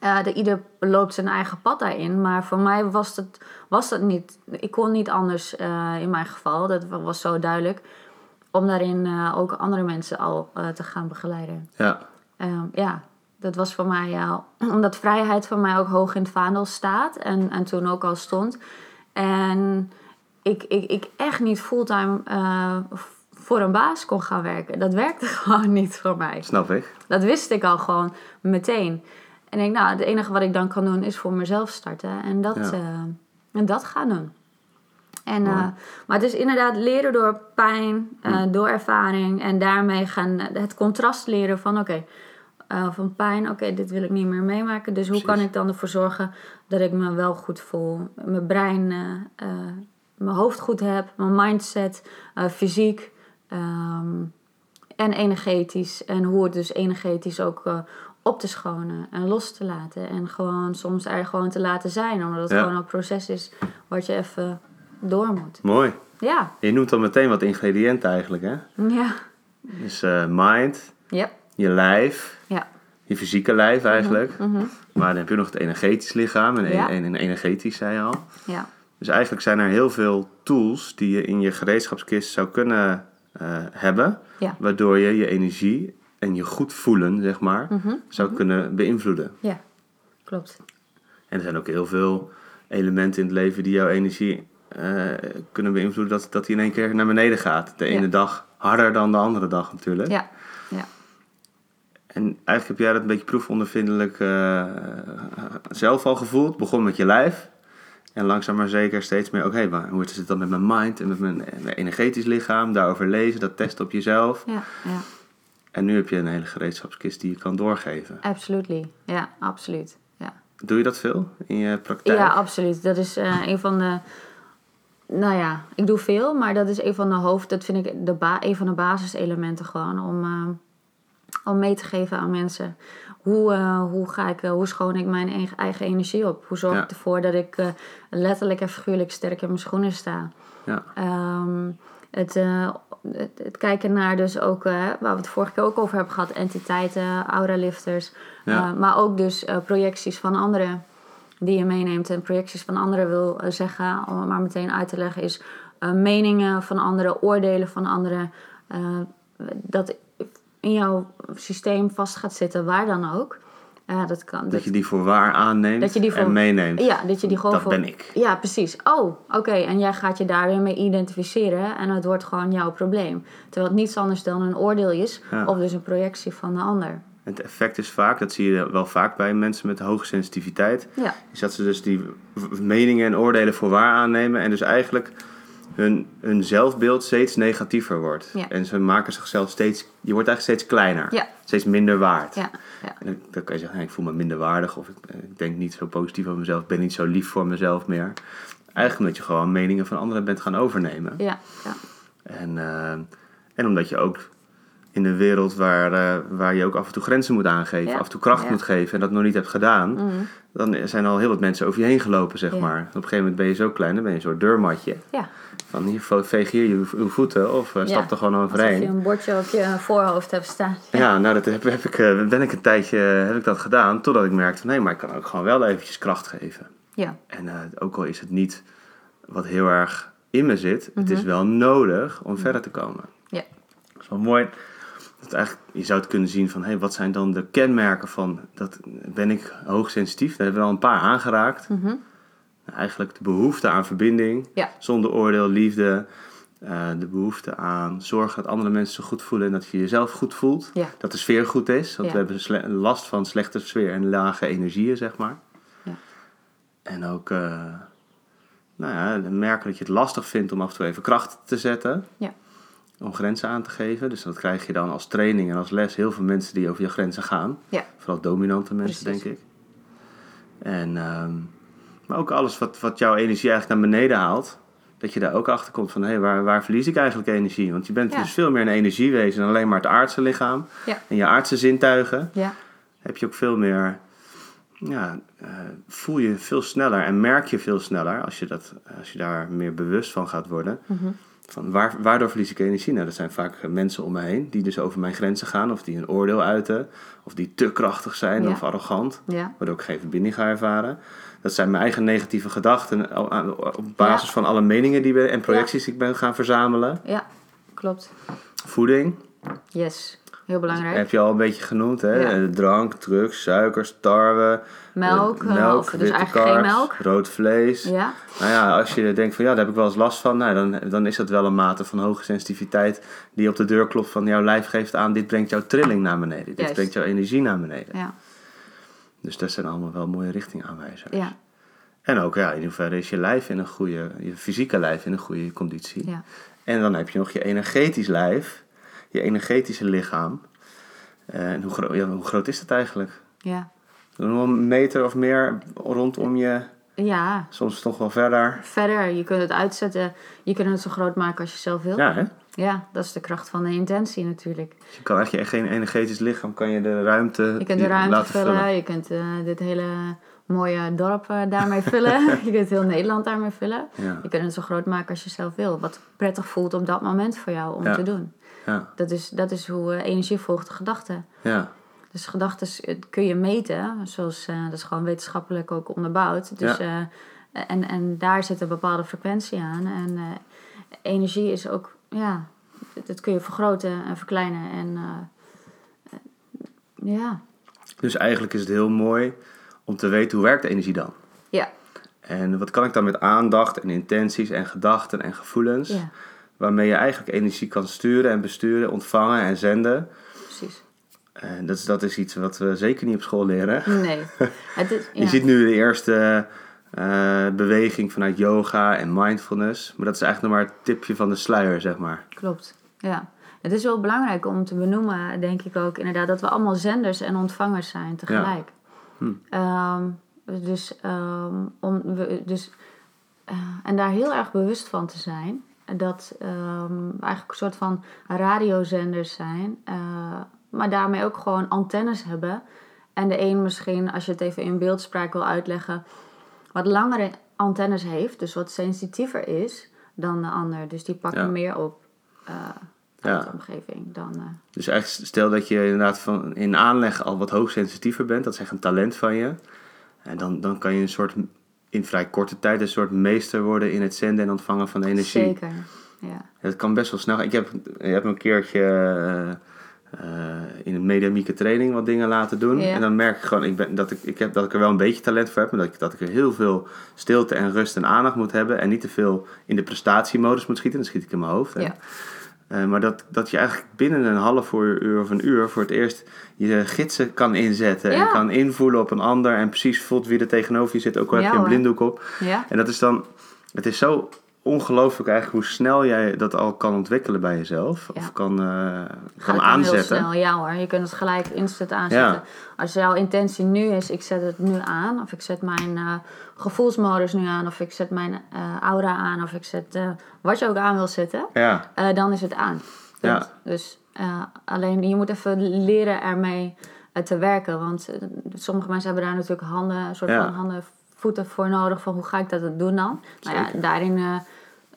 S1: Eh, de, ieder loopt zijn eigen pad daarin. Maar voor mij was dat, was dat niet. Ik kon niet anders eh, in mijn geval. Dat wa- was zo duidelijk. Om daarin eh, ook andere mensen al eh, te gaan begeleiden.
S2: Ja.
S1: Ehm, ja, dat was voor mij. ja, omdat vrijheid voor mij ook hoog in het vaandel staat. En, en toen ook al stond. En ik, ik, ik echt niet fulltime eh, voor een baas kon gaan werken. Dat werkte gewoon niet voor mij.
S2: snap ik.
S1: Dat wist ik al gewoon meteen. En ik denk, nou, het enige wat ik dan kan doen is voor mezelf starten en dat,
S2: Ja.
S1: eh, en dat gaan doen. En,
S2: Mooi. Hm.
S1: eh, maar het is inderdaad leren door pijn, eh, door ervaring en daarmee gaan eh, het contrast leren van oké, eh, van pijn, oké, dit wil ik niet meer meemaken. Dus hoe kan
S2: Precies.
S1: ik dan ervoor zorgen dat ik me wel goed voel? Mijn brein, eh, eh, mijn hoofd goed heb, mijn mindset, eh, fysiek ehm, en energetisch. En hoe het dus energetisch ook eh, op te schonen en los te laten. En gewoon soms er gewoon te laten zijn, omdat het
S2: Ja.
S1: gewoon een proces is wat je even door moet.
S2: Mooi.
S1: Ja,
S2: Je noemt al meteen wat ingrediënten eigenlijk, hè?
S1: ja,
S2: Dus eh, mind,
S1: ja,
S2: je lijf,
S1: ja.
S2: je fysieke lijf eigenlijk.
S1: mhm.
S2: Maar dan heb je nog het energetisch lichaam en,
S1: Ja.
S2: en, en energetisch, zei je al.
S1: Ja,
S2: Dus eigenlijk zijn er heel veel tools die je in je gereedschapskist zou kunnen eh, hebben,
S1: ja,
S2: waardoor je je energie en je goed voelen, zeg maar,
S1: Mhm,
S2: zou kunnen beïnvloeden.
S1: ja. Klopt.
S2: En er zijn ook heel veel elementen in het leven die jouw energie eh, kunnen beïnvloeden, dat, dat die in één keer naar beneden gaat. De ene
S1: Ja.
S2: dag harder dan de andere dag natuurlijk.
S1: Ja, ja.
S2: En eigenlijk heb jij dat een beetje proefondervindelijk eh, zelf al gevoeld. Begon met je lijf. En langzaam maar zeker steeds meer, oké, maar hoe zit het dan met mijn mind en met mijn eh, mijn energetisch lichaam? Daarover lezen, dat testen op jezelf.
S1: Ja, ja,
S2: En nu heb je een hele gereedschapskist die je kan doorgeven.
S1: absolutely. Ja, absoluut. Ja,
S2: Doe je dat veel in je praktijk?
S1: ja absoluut. Dat is eh, een van de... Nou ja, ik doe veel, maar dat is een van de hoofd... Dat vind ik de ba- een van de basiselementen gewoon om, eh, om mee te geven aan mensen. Hoe, eh, hoe, ga ik, eh, hoe schoon ik mijn eigen, eigen energie op? Hoe zorg
S2: Ja.
S1: ik ervoor dat ik eh, letterlijk en figuurlijk sterk in mijn schoenen sta?
S2: Ja.
S1: Ehm, het, eh, het, het kijken naar dus ook, eh, waar we het vorige keer ook over hebben gehad, entiteiten, auralifters.
S2: Ja.
S1: Eh, maar ook dus eh, projecties van anderen die je meeneemt. En projecties van anderen wil eh, zeggen, om het maar meteen uit te leggen, is eh, meningen van anderen, oordelen van anderen. eh, dat in jouw systeem vast gaat zitten, waar dan ook. Ja, dat kan.
S2: Dat je die voor waar aanneemt
S1: Dat je die voor-
S2: en meeneemt.
S1: Ja, dat je die gewoon
S2: Dat
S1: voor-
S2: ben ik.
S1: Ja, precies. Oh, oké. En jij gaat je daar weer mee identificeren en het wordt gewoon jouw probleem. Terwijl het niets anders dan een oordeel is
S2: Ja.
S1: of dus een projectie van de ander.
S2: Het effect is vaak, dat zie je wel vaak bij mensen met hoge sensitiviteit,
S1: Ja,
S2: is dat ze dus die w- meningen en oordelen voor waar aannemen en dus eigenlijk hun, hun zelfbeeld steeds negatiever wordt.
S1: Ja.
S2: En ze maken zichzelf steeds, je wordt eigenlijk steeds kleiner,
S1: Ja.
S2: steeds minder waard.
S1: ja, ja.
S2: En dan, dan kan je zeggen, "Hey, ik voel me minder waardig of ik, eh, ik denk niet zo positief over mezelf, ik ben niet zo lief voor mezelf meer. Eigenlijk omdat je gewoon meningen van anderen bent gaan overnemen.
S1: Ja, ja,
S2: En, eh, en omdat je ook in een wereld waar, eh, waar je ook af en toe grenzen moet aangeven,
S1: Ja.
S2: af en toe kracht
S1: Ja. Mm.
S2: moet geven en dat nog niet hebt gedaan,
S1: Mhm.
S2: dan zijn er al heel wat mensen over je heen gelopen, zeg
S1: Ja.
S2: maar. Op een gegeven moment ben je zo klein, dan ben je een soort deurmatje.
S1: ja.
S2: Van hier vo- veeg hier je, uw voeten of eh, stap er gewoon
S1: Alsof je
S2: overheen.
S1: een bordje op je voorhoofd hebt staan.
S2: Ja, nou, dat heb, heb ik, eh, ben ik een tijdje eh, heb ik dat gedaan, totdat ik merkte van nee, maar ik kan ook gewoon wel eventjes kracht geven.
S1: Ja,
S2: En eh, ook al is het niet wat heel erg in me zit, het is wel nodig om verder te komen.
S1: Mhm. ja,
S2: Dat is wel mooi. Dat eigenlijk, je zou het kunnen zien van, hey, wat zijn dan de kenmerken van, dat ben ik hoogsensitief? Daar hebben we al een paar aangeraakt.
S1: Mhm.
S2: Eigenlijk de behoefte aan verbinding,
S1: Ja.
S2: zonder oordeel, liefde. eh, de behoefte aan zorgen dat andere mensen zich goed voelen en dat je jezelf goed voelt.
S1: Ja.
S2: Dat de sfeer goed is, want
S1: Ja.
S2: we hebben sle- last van slechte sfeer en lage energieën, zeg maar.
S1: Ja.
S2: En ook, eh, nou ja, merken dat je het lastig vindt om af en toe even kracht te zetten
S1: ja,
S2: om grenzen aan te geven. Dus dat krijg je dan als training en als les heel veel mensen die over je grenzen gaan.
S1: ja.
S2: Vooral dominante mensen,
S1: Precies.
S2: denk ik. En, ehm, maar ook alles wat, wat jouw energie eigenlijk naar beneden haalt. Dat je daar ook achter komt van, hé, waar, waar verlies ik eigenlijk energie? Want je bent
S1: Ja.
S2: dus veel meer een energiewezen dan alleen maar het aardse lichaam.
S1: Ja.
S2: En je aardse zintuigen
S1: ja.
S2: heb je ook veel meer... Ja, eh, voel je veel sneller en merk je veel sneller als je, dat, als je daar meer bewust van gaat worden.
S1: Mhm.
S2: Van waar, waardoor verlies ik energie? Nou, dat zijn vaak eh, mensen om me heen die dus over mijn grenzen gaan, of die een oordeel uiten, of die te krachtig zijn
S1: Ja.
S2: of arrogant,
S1: ja.
S2: waardoor ik geen verbinding ga ervaren. Dat zijn mijn eigen negatieve gedachten al- aan- op basis van alle meningen die we, en projecties die ik ben gaan verzamelen.
S1: Ja, klopt.
S2: Voeding,
S1: Yes, heel belangrijk.
S2: heb je al een beetje genoemd, hè?
S1: Ja.
S2: Eh, Drank, drugs, suikers, tarwe,
S1: Melk,
S2: eh,
S1: eh, of dus
S2: witte
S1: eigenlijk geen
S2: carbs,
S1: melk.
S2: rood vlees.
S1: Ja,
S2: Nou ja, als je denkt van ja, daar heb ik wel eens last van, nou, dan, dan is dat wel een mate van hoge sensitiviteit die op de deur klopt van jouw lijf geeft aan, dit brengt jouw trilling naar beneden, dit
S1: Juist.
S2: brengt jouw energie naar beneden.
S1: ja,
S2: Dus dat zijn allemaal wel mooie richtingaanwijzers.
S1: ja,
S2: En ook ja, in hoeverre is je lijf in een goede, je fysieke lijf in een goede conditie.
S1: ja.
S2: En dan heb je nog je energetisch lijf, je energetische lichaam. Eh, En hoe, gro- ja, hoe groot is dat eigenlijk?
S1: Ja.
S2: Nog Een meter of meer rondom je,
S1: ja,
S2: soms toch wel verder.
S1: verder, je kunt het uitzetten. Je kunt het zo groot maken als je zelf wilt.
S2: Ja, hè?
S1: Ja, dat is de kracht van de intentie natuurlijk.
S2: Je kan eigenlijk geen energetisch lichaam, kan je de ruimte,
S1: Je kunt de ruimte
S2: laten
S1: vullen, je kunt eh, dit hele mooie dorp eh, daarmee vullen. je kunt heel Nederland daarmee vullen.
S2: Ja,
S1: Je kunt het zo groot maken als je zelf wil. Wat prettig voelt op dat moment voor jou om
S2: Ja.
S1: te doen.
S2: ja,
S1: Dat is, dat is hoe eh, energie volgt de gedachten.
S2: ja,
S1: Dus gedachten kun je meten, zoals eh, dat is gewoon wetenschappelijk ook onderbouwd. Dus, eh, en, en daar zit een bepaalde frequentie aan. En eh, energie is ook, ja, dat- dat kun je vergroten en verkleinen. En eh, eh, ja,
S2: Dus eigenlijk is het heel mooi om te weten hoe werkt de energie dan.
S1: ja,
S2: En wat kan ik dan met aandacht en intenties en gedachten en gevoelens,
S1: ja,
S2: waarmee je eigenlijk energie kan sturen en besturen, ontvangen en zenden.
S1: precies.
S2: En dat is, dat is iets wat we zeker niet op school leren.
S1: Nee. Het is, ja.
S2: Je ziet nu de eerste eh, beweging vanuit yoga en mindfulness, maar dat is eigenlijk nog maar het tipje van de sluier, zeg maar.
S1: Klopt, ja. Het is wel belangrijk om te benoemen, denk ik ook inderdaad, dat we allemaal zenders en ontvangers zijn tegelijk.
S2: Hm.
S1: Ehm, dus, ehm, om, we, dus, eh, en daar heel erg bewust van te zijn. Dat ehm, we eigenlijk een soort van radiozenders zijn, eh, maar daarmee ook gewoon antennes hebben. En de een misschien, als je het even in beeldspraak wil uitleggen, wat langere antennes heeft, dus wat sensitiever is dan de ander. Dus die pakken
S2: Ja.
S1: meer op eh, uit
S2: Ja.
S1: de omgeving dan. eh,
S2: Dus eigenlijk stel dat je inderdaad van in aanleg al wat hoogsensitiever bent, dat is echt een talent van je. En dan, dan kan je een soort, in vrij korte tijd een soort meester worden in het zenden en ontvangen van energie.
S1: Zeker. Ja.
S2: Het kan best wel snel. Ik heb, ik heb een keertje eh, eh, in een mediamieke training wat dingen laten doen.
S1: Ja.
S2: En dan merk ik gewoon ik ben, dat, ik, ik heb, dat ik er wel een beetje talent voor heb. Maar dat ik, dat ik er heel veel stilte en rust en aandacht moet hebben. En niet te veel in de prestatiemodus moet schieten. Dan schiet ik in mijn hoofd. hè.
S1: Ja.
S2: Eh, maar dat, dat je eigenlijk binnen een half uur, uur of een uur voor het eerst je gidsen kan inzetten. En
S1: Ja.
S2: kan invoelen op een ander. En precies voelt wie er tegenover je zit. Ook al
S1: Ja,
S2: heb je een
S1: hoor.
S2: blinddoek op.
S1: ja.
S2: En dat is dan, het is zo ongelooflijk eigenlijk hoe snel jij dat al kan ontwikkelen bij jezelf.
S1: Ja.
S2: Of kan, eh,
S1: Gaat
S2: kan
S1: het dan
S2: aanzetten.
S1: Heel snel, ja hoor. Je kunt het gelijk instant aanzetten.
S2: Ja.
S1: Als jouw intentie nu is, ik zet het nu aan. Of ik zet mijn eh, gevoelsmodus nu aan. Of ik zet mijn eh, aura aan. Of ik zet eh, wat je ook aan wil zetten.
S2: Ja,
S1: eh, dan is het aan. Punt.
S2: Ja.
S1: Dus eh, alleen je moet even leren ermee eh, te werken. Want eh, sommige mensen hebben daar natuurlijk handen, een soort
S2: Ja.
S1: van handen, voeten voor nodig. Van hoe ga ik dat doen dan? Nou ja,
S2: Zeker.
S1: daarin, eh,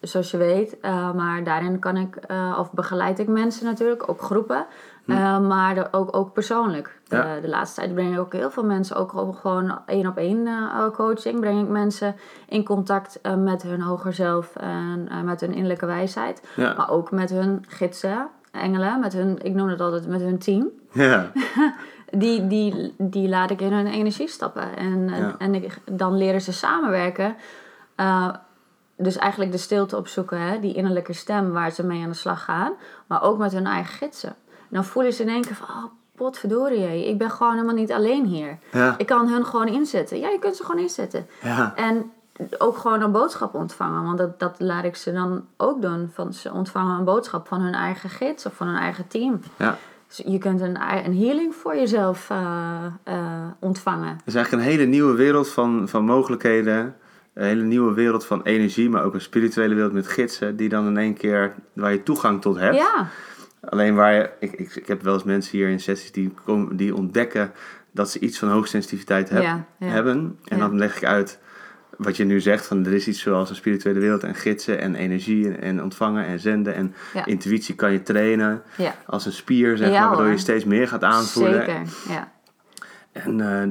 S1: zoals je weet, eh, maar daarin kan ik, eh, of begeleid ik mensen natuurlijk, ook groepen. eh, maar de- ook, ook persoonlijk.
S2: Hm. Ja.
S1: Eh, de laatste tijd breng ik ook heel veel mensen, ook gewoon- gewoon één op één eh, coaching, breng ik mensen in contact eh, met hun hoger zelf en eh, met hun innerlijke wijsheid.
S2: ja,
S1: Maar ook met hun gidsen, engelen, met hun, ik noem het altijd, met hun team.
S2: ja,
S1: Die, die, die laat ik in hun energie stappen. En,
S2: Ja.
S1: en ik, dan leren ze samenwerken. Uh, dus eigenlijk de stilte opzoeken, hè? die innerlijke stem waar ze mee aan de slag gaan. Maar ook met hun eigen gidsen. En dan voelen ze in één keer van, oh potverdorie, hé, ik ben gewoon helemaal niet alleen hier.
S2: ja,
S1: Ik kan hun gewoon inzetten. Ja, je kunt ze gewoon inzetten.
S2: ja,
S1: En ook gewoon een boodschap ontvangen. Want dat, dat laat ik ze dan ook doen. Van, ze ontvangen een boodschap van hun eigen gids of van hun eigen team.
S2: ja.
S1: Dus je kunt een, ei- een healing voor jezelf eh, eh, ontvangen.
S2: Het is eigenlijk een hele nieuwe wereld van, van mogelijkheden. Een hele nieuwe wereld van energie, maar ook een spirituele wereld met gidsen. Die dan in één keer, waar je toegang tot hebt.
S1: Ja,
S2: Alleen waar je, ik, ik, ik heb wel eens mensen hier in sessies die, komen, die ontdekken dat ze iets van hoogsensitiviteit heb,
S1: Ja, ja.
S2: hebben. En
S1: Ja.
S2: dan leg ik uit wat je nu zegt: van er is iets zoals een spirituele wereld en gidsen en energie en, en ontvangen en zenden. En
S1: Ja.
S2: intuïtie kan je trainen
S1: ja
S2: als een spier, zeg
S1: Ja,
S2: maar, waardoor je
S1: hoor.
S2: steeds meer gaat aanvoelen.
S1: zeker. Ja.
S2: En eh,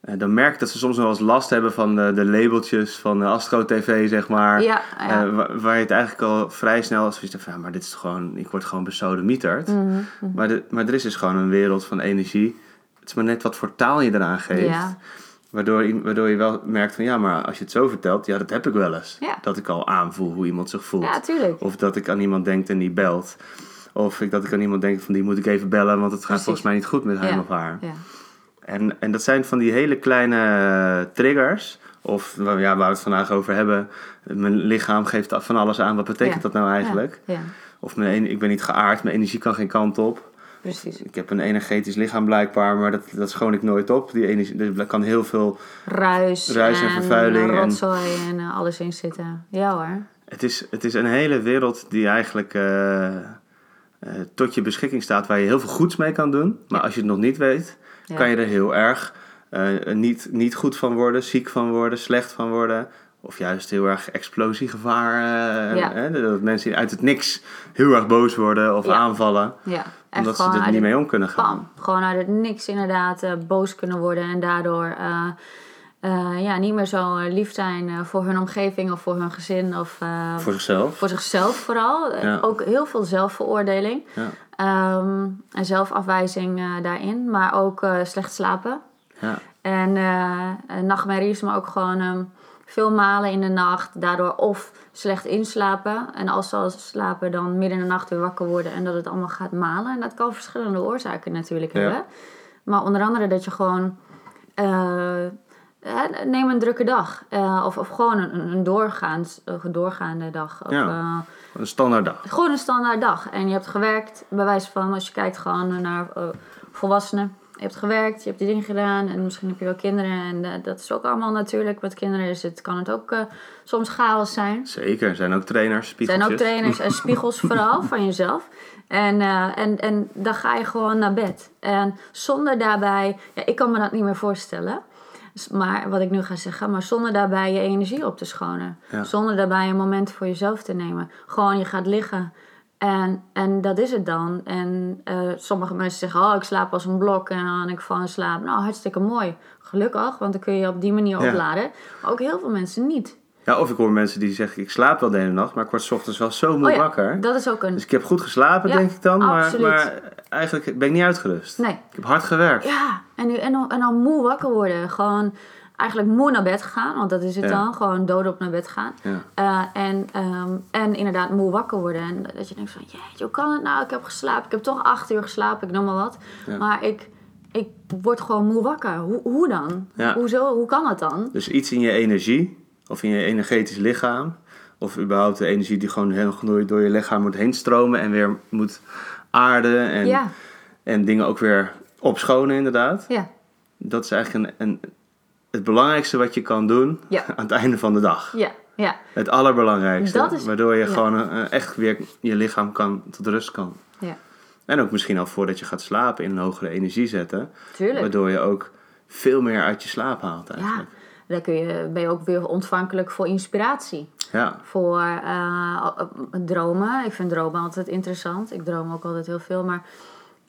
S2: eh, dan merk ik dat ze soms nog wel eens last hebben van eh, de labeltjes van eh, Astro TV, zeg maar.
S1: Ja, ja.
S2: Eh, wa- waar, je het eigenlijk al vrij snel als zoiets hebt van, ja, maar dit is gewoon, ik word gewoon besodemieterd.
S1: Mhm.
S2: Maar, de- maar er is dus gewoon een wereld van energie. Het is maar net wat voor taal je eraan geeft.
S1: Ja.
S2: Waardoor, je- waardoor je wel merkt van ja, maar als je het zo vertelt, ja, dat heb ik wel eens.
S1: Ja.
S2: Dat ik al aanvoel hoe iemand zich voelt.
S1: ja, tuurlijk.
S2: Of dat ik aan iemand denk en die belt. Of ik, dat ik aan iemand denk van die moet ik even bellen, want het gaat
S1: Precies.
S2: volgens mij niet goed met hem
S1: Ja.
S2: of haar.
S1: Ja.
S2: En, en dat zijn van die hele kleine eh, triggers. Of nou ja, waar we het vandaag over hebben. Mijn lichaam geeft van alles aan. Wat betekent
S1: Ja.
S2: dat nou eigenlijk?
S1: Ja. ja.
S2: Of mijn, en- ik ben niet geaard, mijn energie kan geen kant op.
S1: Precies.
S2: Ik heb een energetisch lichaam blijkbaar, maar dat, dat schoon ik nooit op. Die energie, er kan heel veel...
S1: Ruis,
S2: Ruis en vervuiling en-
S1: rotzooi en, eh, alles in zitten. Ja hoor.
S2: Het is, het is een hele wereld die eigenlijk eh, eh, tot je beschikking staat... waar je heel veel goeds mee kan doen. Maar als je het nog niet weet,
S1: Ja.
S2: kan je er heel erg eh, niet, niet goed van worden... ziek van worden, slecht van worden... Of juist heel erg explosiegevaar. eh,
S1: Ja.
S2: hè, dat mensen uit het niks heel erg boos worden of
S1: Ja.
S2: aanvallen.
S1: Ja. Echt
S2: Omdat ze
S1: gewoon
S2: er
S1: uit
S2: niet
S1: het
S2: mee om kunnen gaan.
S1: Bam. Gewoon uit het niks inderdaad eh, boos kunnen worden en daardoor eh, eh, ja, niet meer zo eh, lief zijn eh, voor hun omgeving of voor hun gezin of eh,
S2: Voor zichzelf.
S1: voor zichzelf vooral. Eh,
S2: Ja.
S1: Ook heel veel zelfveroordeling
S2: Ja.
S1: ehm, en zelfafwijzing eh, daarin, maar ook eh, slecht slapen.
S2: Ja.
S1: En eh, eh, nachtmerries, maar ook gewoon ehm, veel malen in de nacht. Daardoor of slecht inslapen. En als ze al slapen, dan midden in de nacht weer wakker worden. En dat het allemaal gaat malen. En dat kan verschillende oorzaken natuurlijk
S2: Ja.
S1: hebben. Maar onder andere dat je gewoon... eh, eh, neem een drukke dag. Eh, of, of gewoon een, een doorgaans, een doorgaande dag. Of,
S2: Ja.
S1: eh,
S2: Een standaard dag.
S1: gewoon een standaard dag. En je hebt gewerkt, bij wijze van, als je kijkt gewoon naar eh, volwassenen. Je hebt gewerkt, je hebt die dingen gedaan en misschien heb je wel kinderen. En eh, dat is ook allemaal natuurlijk. Met kinderen is het, kan het ook eh, soms chaos zijn.
S2: Zeker, er zijn ook trainers,
S1: Er zijn
S2: spiegeltjes.
S1: ook trainers en spiegels vooral van jezelf. En, eh, en, en dan ga je gewoon naar bed. En zonder daarbij, ja, ik kan me dat niet meer voorstellen. S- Maar wat ik nu ga zeggen, maar zonder daarbij je energie op te schonen.
S2: Ja.
S1: Zonder daarbij een moment voor jezelf te nemen. Gewoon je gaat liggen. En, en dat is het dan. En eh, sommige mensen zeggen, oh ik slaap als een blok en dan ik val in slaap. Nou, hartstikke mooi. Gelukkig, want dan kun je op die manier
S2: Ja.
S1: opladen. Maar ook heel veel mensen niet.
S2: Ja, of ik hoor mensen die zeggen, ik slaap wel de hele nacht, maar ik word 's ochtends wel zo moe
S1: oh ja,
S2: wakker.
S1: dat is ook een...
S2: Dus ik heb goed geslapen,
S1: Ja,
S2: denk ik dan, maar,
S1: absoluut.
S2: maar eigenlijk ben ik niet uitgerust.
S1: Nee,
S2: Ik heb hard gewerkt.
S1: Ja, en, nu, en, dan, en dan moe wakker worden. Gewoon eigenlijk moe naar bed gaan, want dat is het
S2: Ja.
S1: dan. Gewoon doodop naar bed gaan.
S2: Ja.
S1: Eh, en, ehm, en inderdaad moe wakker worden. En dat je denkt van, jeetje, hoe kan het nou? Ik heb geslapen. Ik heb toch acht uur geslapen, ik noem maar wat.
S2: Ja.
S1: Maar ik, ik word gewoon moe wakker. Hoe, hoe dan?
S2: Ja.
S1: Hoezo? Hoe kan het dan?
S2: Dus iets in je energie, of in je energetisch lichaam, of überhaupt de energie die gewoon heel door je, door je lichaam moet heen stromen en weer moet aarden en,
S1: ja,
S2: en dingen ook weer opschonen inderdaad.
S1: ja,
S2: Dat is eigenlijk een, een, het belangrijkste wat je kan doen
S1: Ja.
S2: aan het einde van de dag.
S1: ja, ja.
S2: Het allerbelangrijkste.
S1: Dat is-
S2: waardoor je
S1: ja.
S2: gewoon eh, echt weer je lichaam kan, tot rust kan.
S1: ja.
S2: En ook misschien al voordat je gaat slapen in een hogere energie zetten.
S1: Tuurlijk.
S2: Waardoor je ook veel meer uit je slaap haalt
S1: Ja,
S2: eigenlijk.
S1: dan kun je, ben je ook weer ontvankelijk voor inspiratie.
S2: Ja.
S1: voor eh, eh, dromen. Ik vind dromen altijd interessant. Ik droom ook altijd heel veel. Maar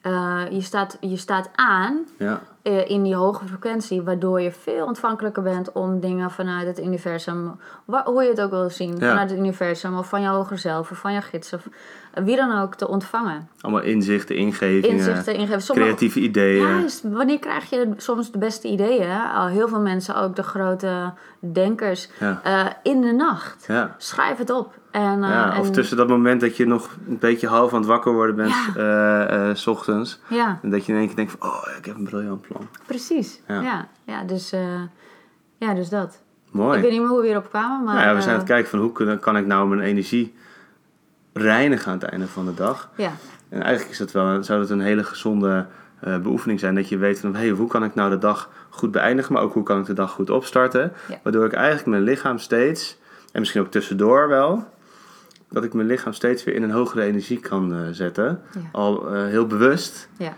S1: eh, je, staat, je staat aan
S2: Ja. ja.
S1: eh, in die hoge frequentie, waardoor je veel ontvankelijker bent om dingen vanuit het universum, wa- hoe je het ook wil zien,
S2: Ja.
S1: vanuit het universum of van je hoger zelf of van je gids of eh, wie dan ook te ontvangen.
S2: Allemaal inzichten, ingevingen,
S1: Inzichten ingeven. Sommige-
S2: eh, creatieve ideeën.
S1: Juist, wanneer krijg je soms de beste ideeën? Al heel veel mensen, ook de grote denkers,
S2: Ja.
S1: eh, in de nacht.
S2: Ja.
S1: Schrijf het op. En, eh,
S2: Ja, Of
S1: en-
S2: tussen dat moment dat je nog een beetje half aan het wakker worden bent,
S1: Ja.
S2: eh, eh, s ochtends.
S1: Ja,
S2: En dat je in één keer denkt van, oh, ik heb een briljant plan.
S1: precies.
S2: Ja.
S1: Ja, ja, dus, eh, ja dus dat.
S2: Mooi.
S1: Ik weet niet meer hoe we hierop kwamen, maar...
S2: Nou ja, we zijn aan
S1: eh,
S2: het kijken van hoe kun- kan ik nou mijn energie reinigen aan het einde van de dag.
S1: Ja,
S2: En eigenlijk is dat wel, een- zou dat een hele gezonde eh, beoefening zijn. Dat je weet van, hey, hoe kan ik nou de dag goed beëindigen, maar ook hoe kan ik de dag goed opstarten.
S1: Ja.
S2: Waardoor ik eigenlijk mijn lichaam steeds, en misschien ook tussendoor wel, dat ik mijn lichaam steeds weer in een hogere energie kan eh, zetten.
S1: Ja.
S2: Al eh, heel bewust.
S1: ja,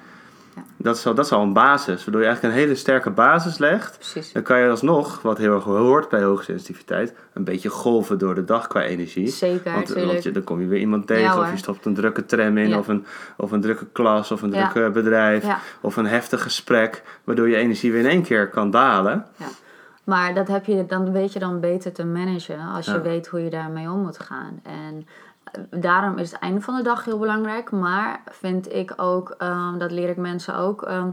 S2: Dat is, al, dat is al een basis, waardoor je eigenlijk een hele sterke basis legt.
S1: precies.
S2: Dan kan je alsnog, wat heel erg hoort bij hoge sensitiviteit, een beetje golven door de dag qua energie.
S1: Zeker,
S2: Want, eh, want
S1: tuurlijk.
S2: je, dan kom je weer iemand tegen,
S1: Ja,
S2: of je
S1: hoor.
S2: stopt een drukke tram in,
S1: Ja.
S2: of, een, of een drukke klas, of een
S1: Ja.
S2: drukke bedrijf,
S1: Ja.
S2: of een heftig gesprek, waardoor je energie weer in één keer kan dalen.
S1: Ja. Maar dat heb je, dan weet je dan beter te managen als je
S2: Ja.
S1: weet hoe je daarmee om moet gaan. En eh, daarom is het einde van de dag heel belangrijk. Maar vind ik ook, ehm, dat leer ik mensen ook, ehm,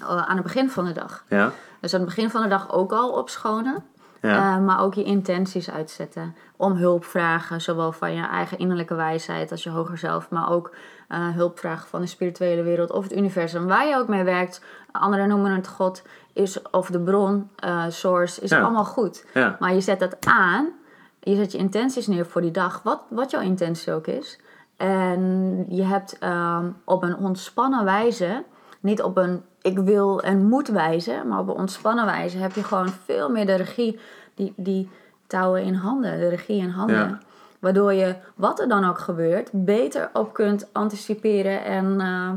S1: eh, aan het begin van de dag.
S2: Ja,
S1: Dus aan het begin van de dag ook al opschonen.
S2: ja.
S1: Eh, maar ook je intenties uitzetten. Om hulp vragen, zowel van je eigen innerlijke wijsheid als je hoger zelf. Maar ook eh, hulp vragen van de spirituele wereld of het universum. Waar je ook mee werkt, anderen noemen het God, is, of de bron, eh, source, is
S2: Ja.
S1: allemaal goed.
S2: ja.
S1: Maar je zet dat aan, je zet je intenties neer voor die dag, wat, wat jouw intentie ook is. En je hebt ehm, op een ontspannen wijze, niet op een ik wil en moet wijze, maar op een ontspannen wijze heb je gewoon veel meer de regie, die, die touwen in handen, de regie in handen.
S2: Ja.
S1: Waardoor je, wat er dan ook gebeurt, beter op kunt anticiperen en, eh,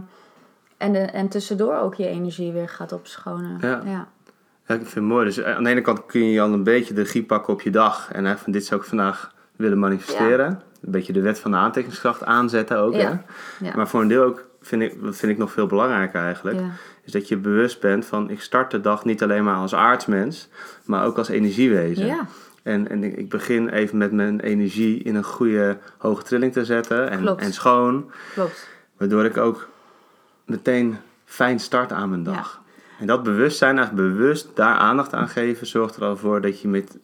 S1: en, de, en tussendoor ook je energie weer gaat opschonen.
S2: Ja.
S1: ja.
S2: Ja, ik vind het mooi. Dus eh, aan de ene kant kun je al een beetje de regie pakken op je dag. En hè, van dit zou ik vandaag willen manifesteren. Een beetje de wet van de aantrekkingskracht aanzetten ook.
S1: Ja,
S2: Hè?
S1: ja.
S2: Maar voor een deel ook, vind ik, dat vind ik nog veel belangrijker eigenlijk.
S1: Ja.
S2: Is dat je bewust bent van ik start de dag niet alleen maar als aardsmens. Maar ook als energiewezen.
S1: Ja.
S2: En, en ik ik begin even met mijn energie in een goede hoge trilling te zetten. En,
S1: Klopt.
S2: en schoon.
S1: Klopt.
S2: Waardoor ik ook meteen fijn start aan mijn dag. En dat bewustzijn, eigenlijk bewust daar aandacht aan geven, zorgt er al voor dat je met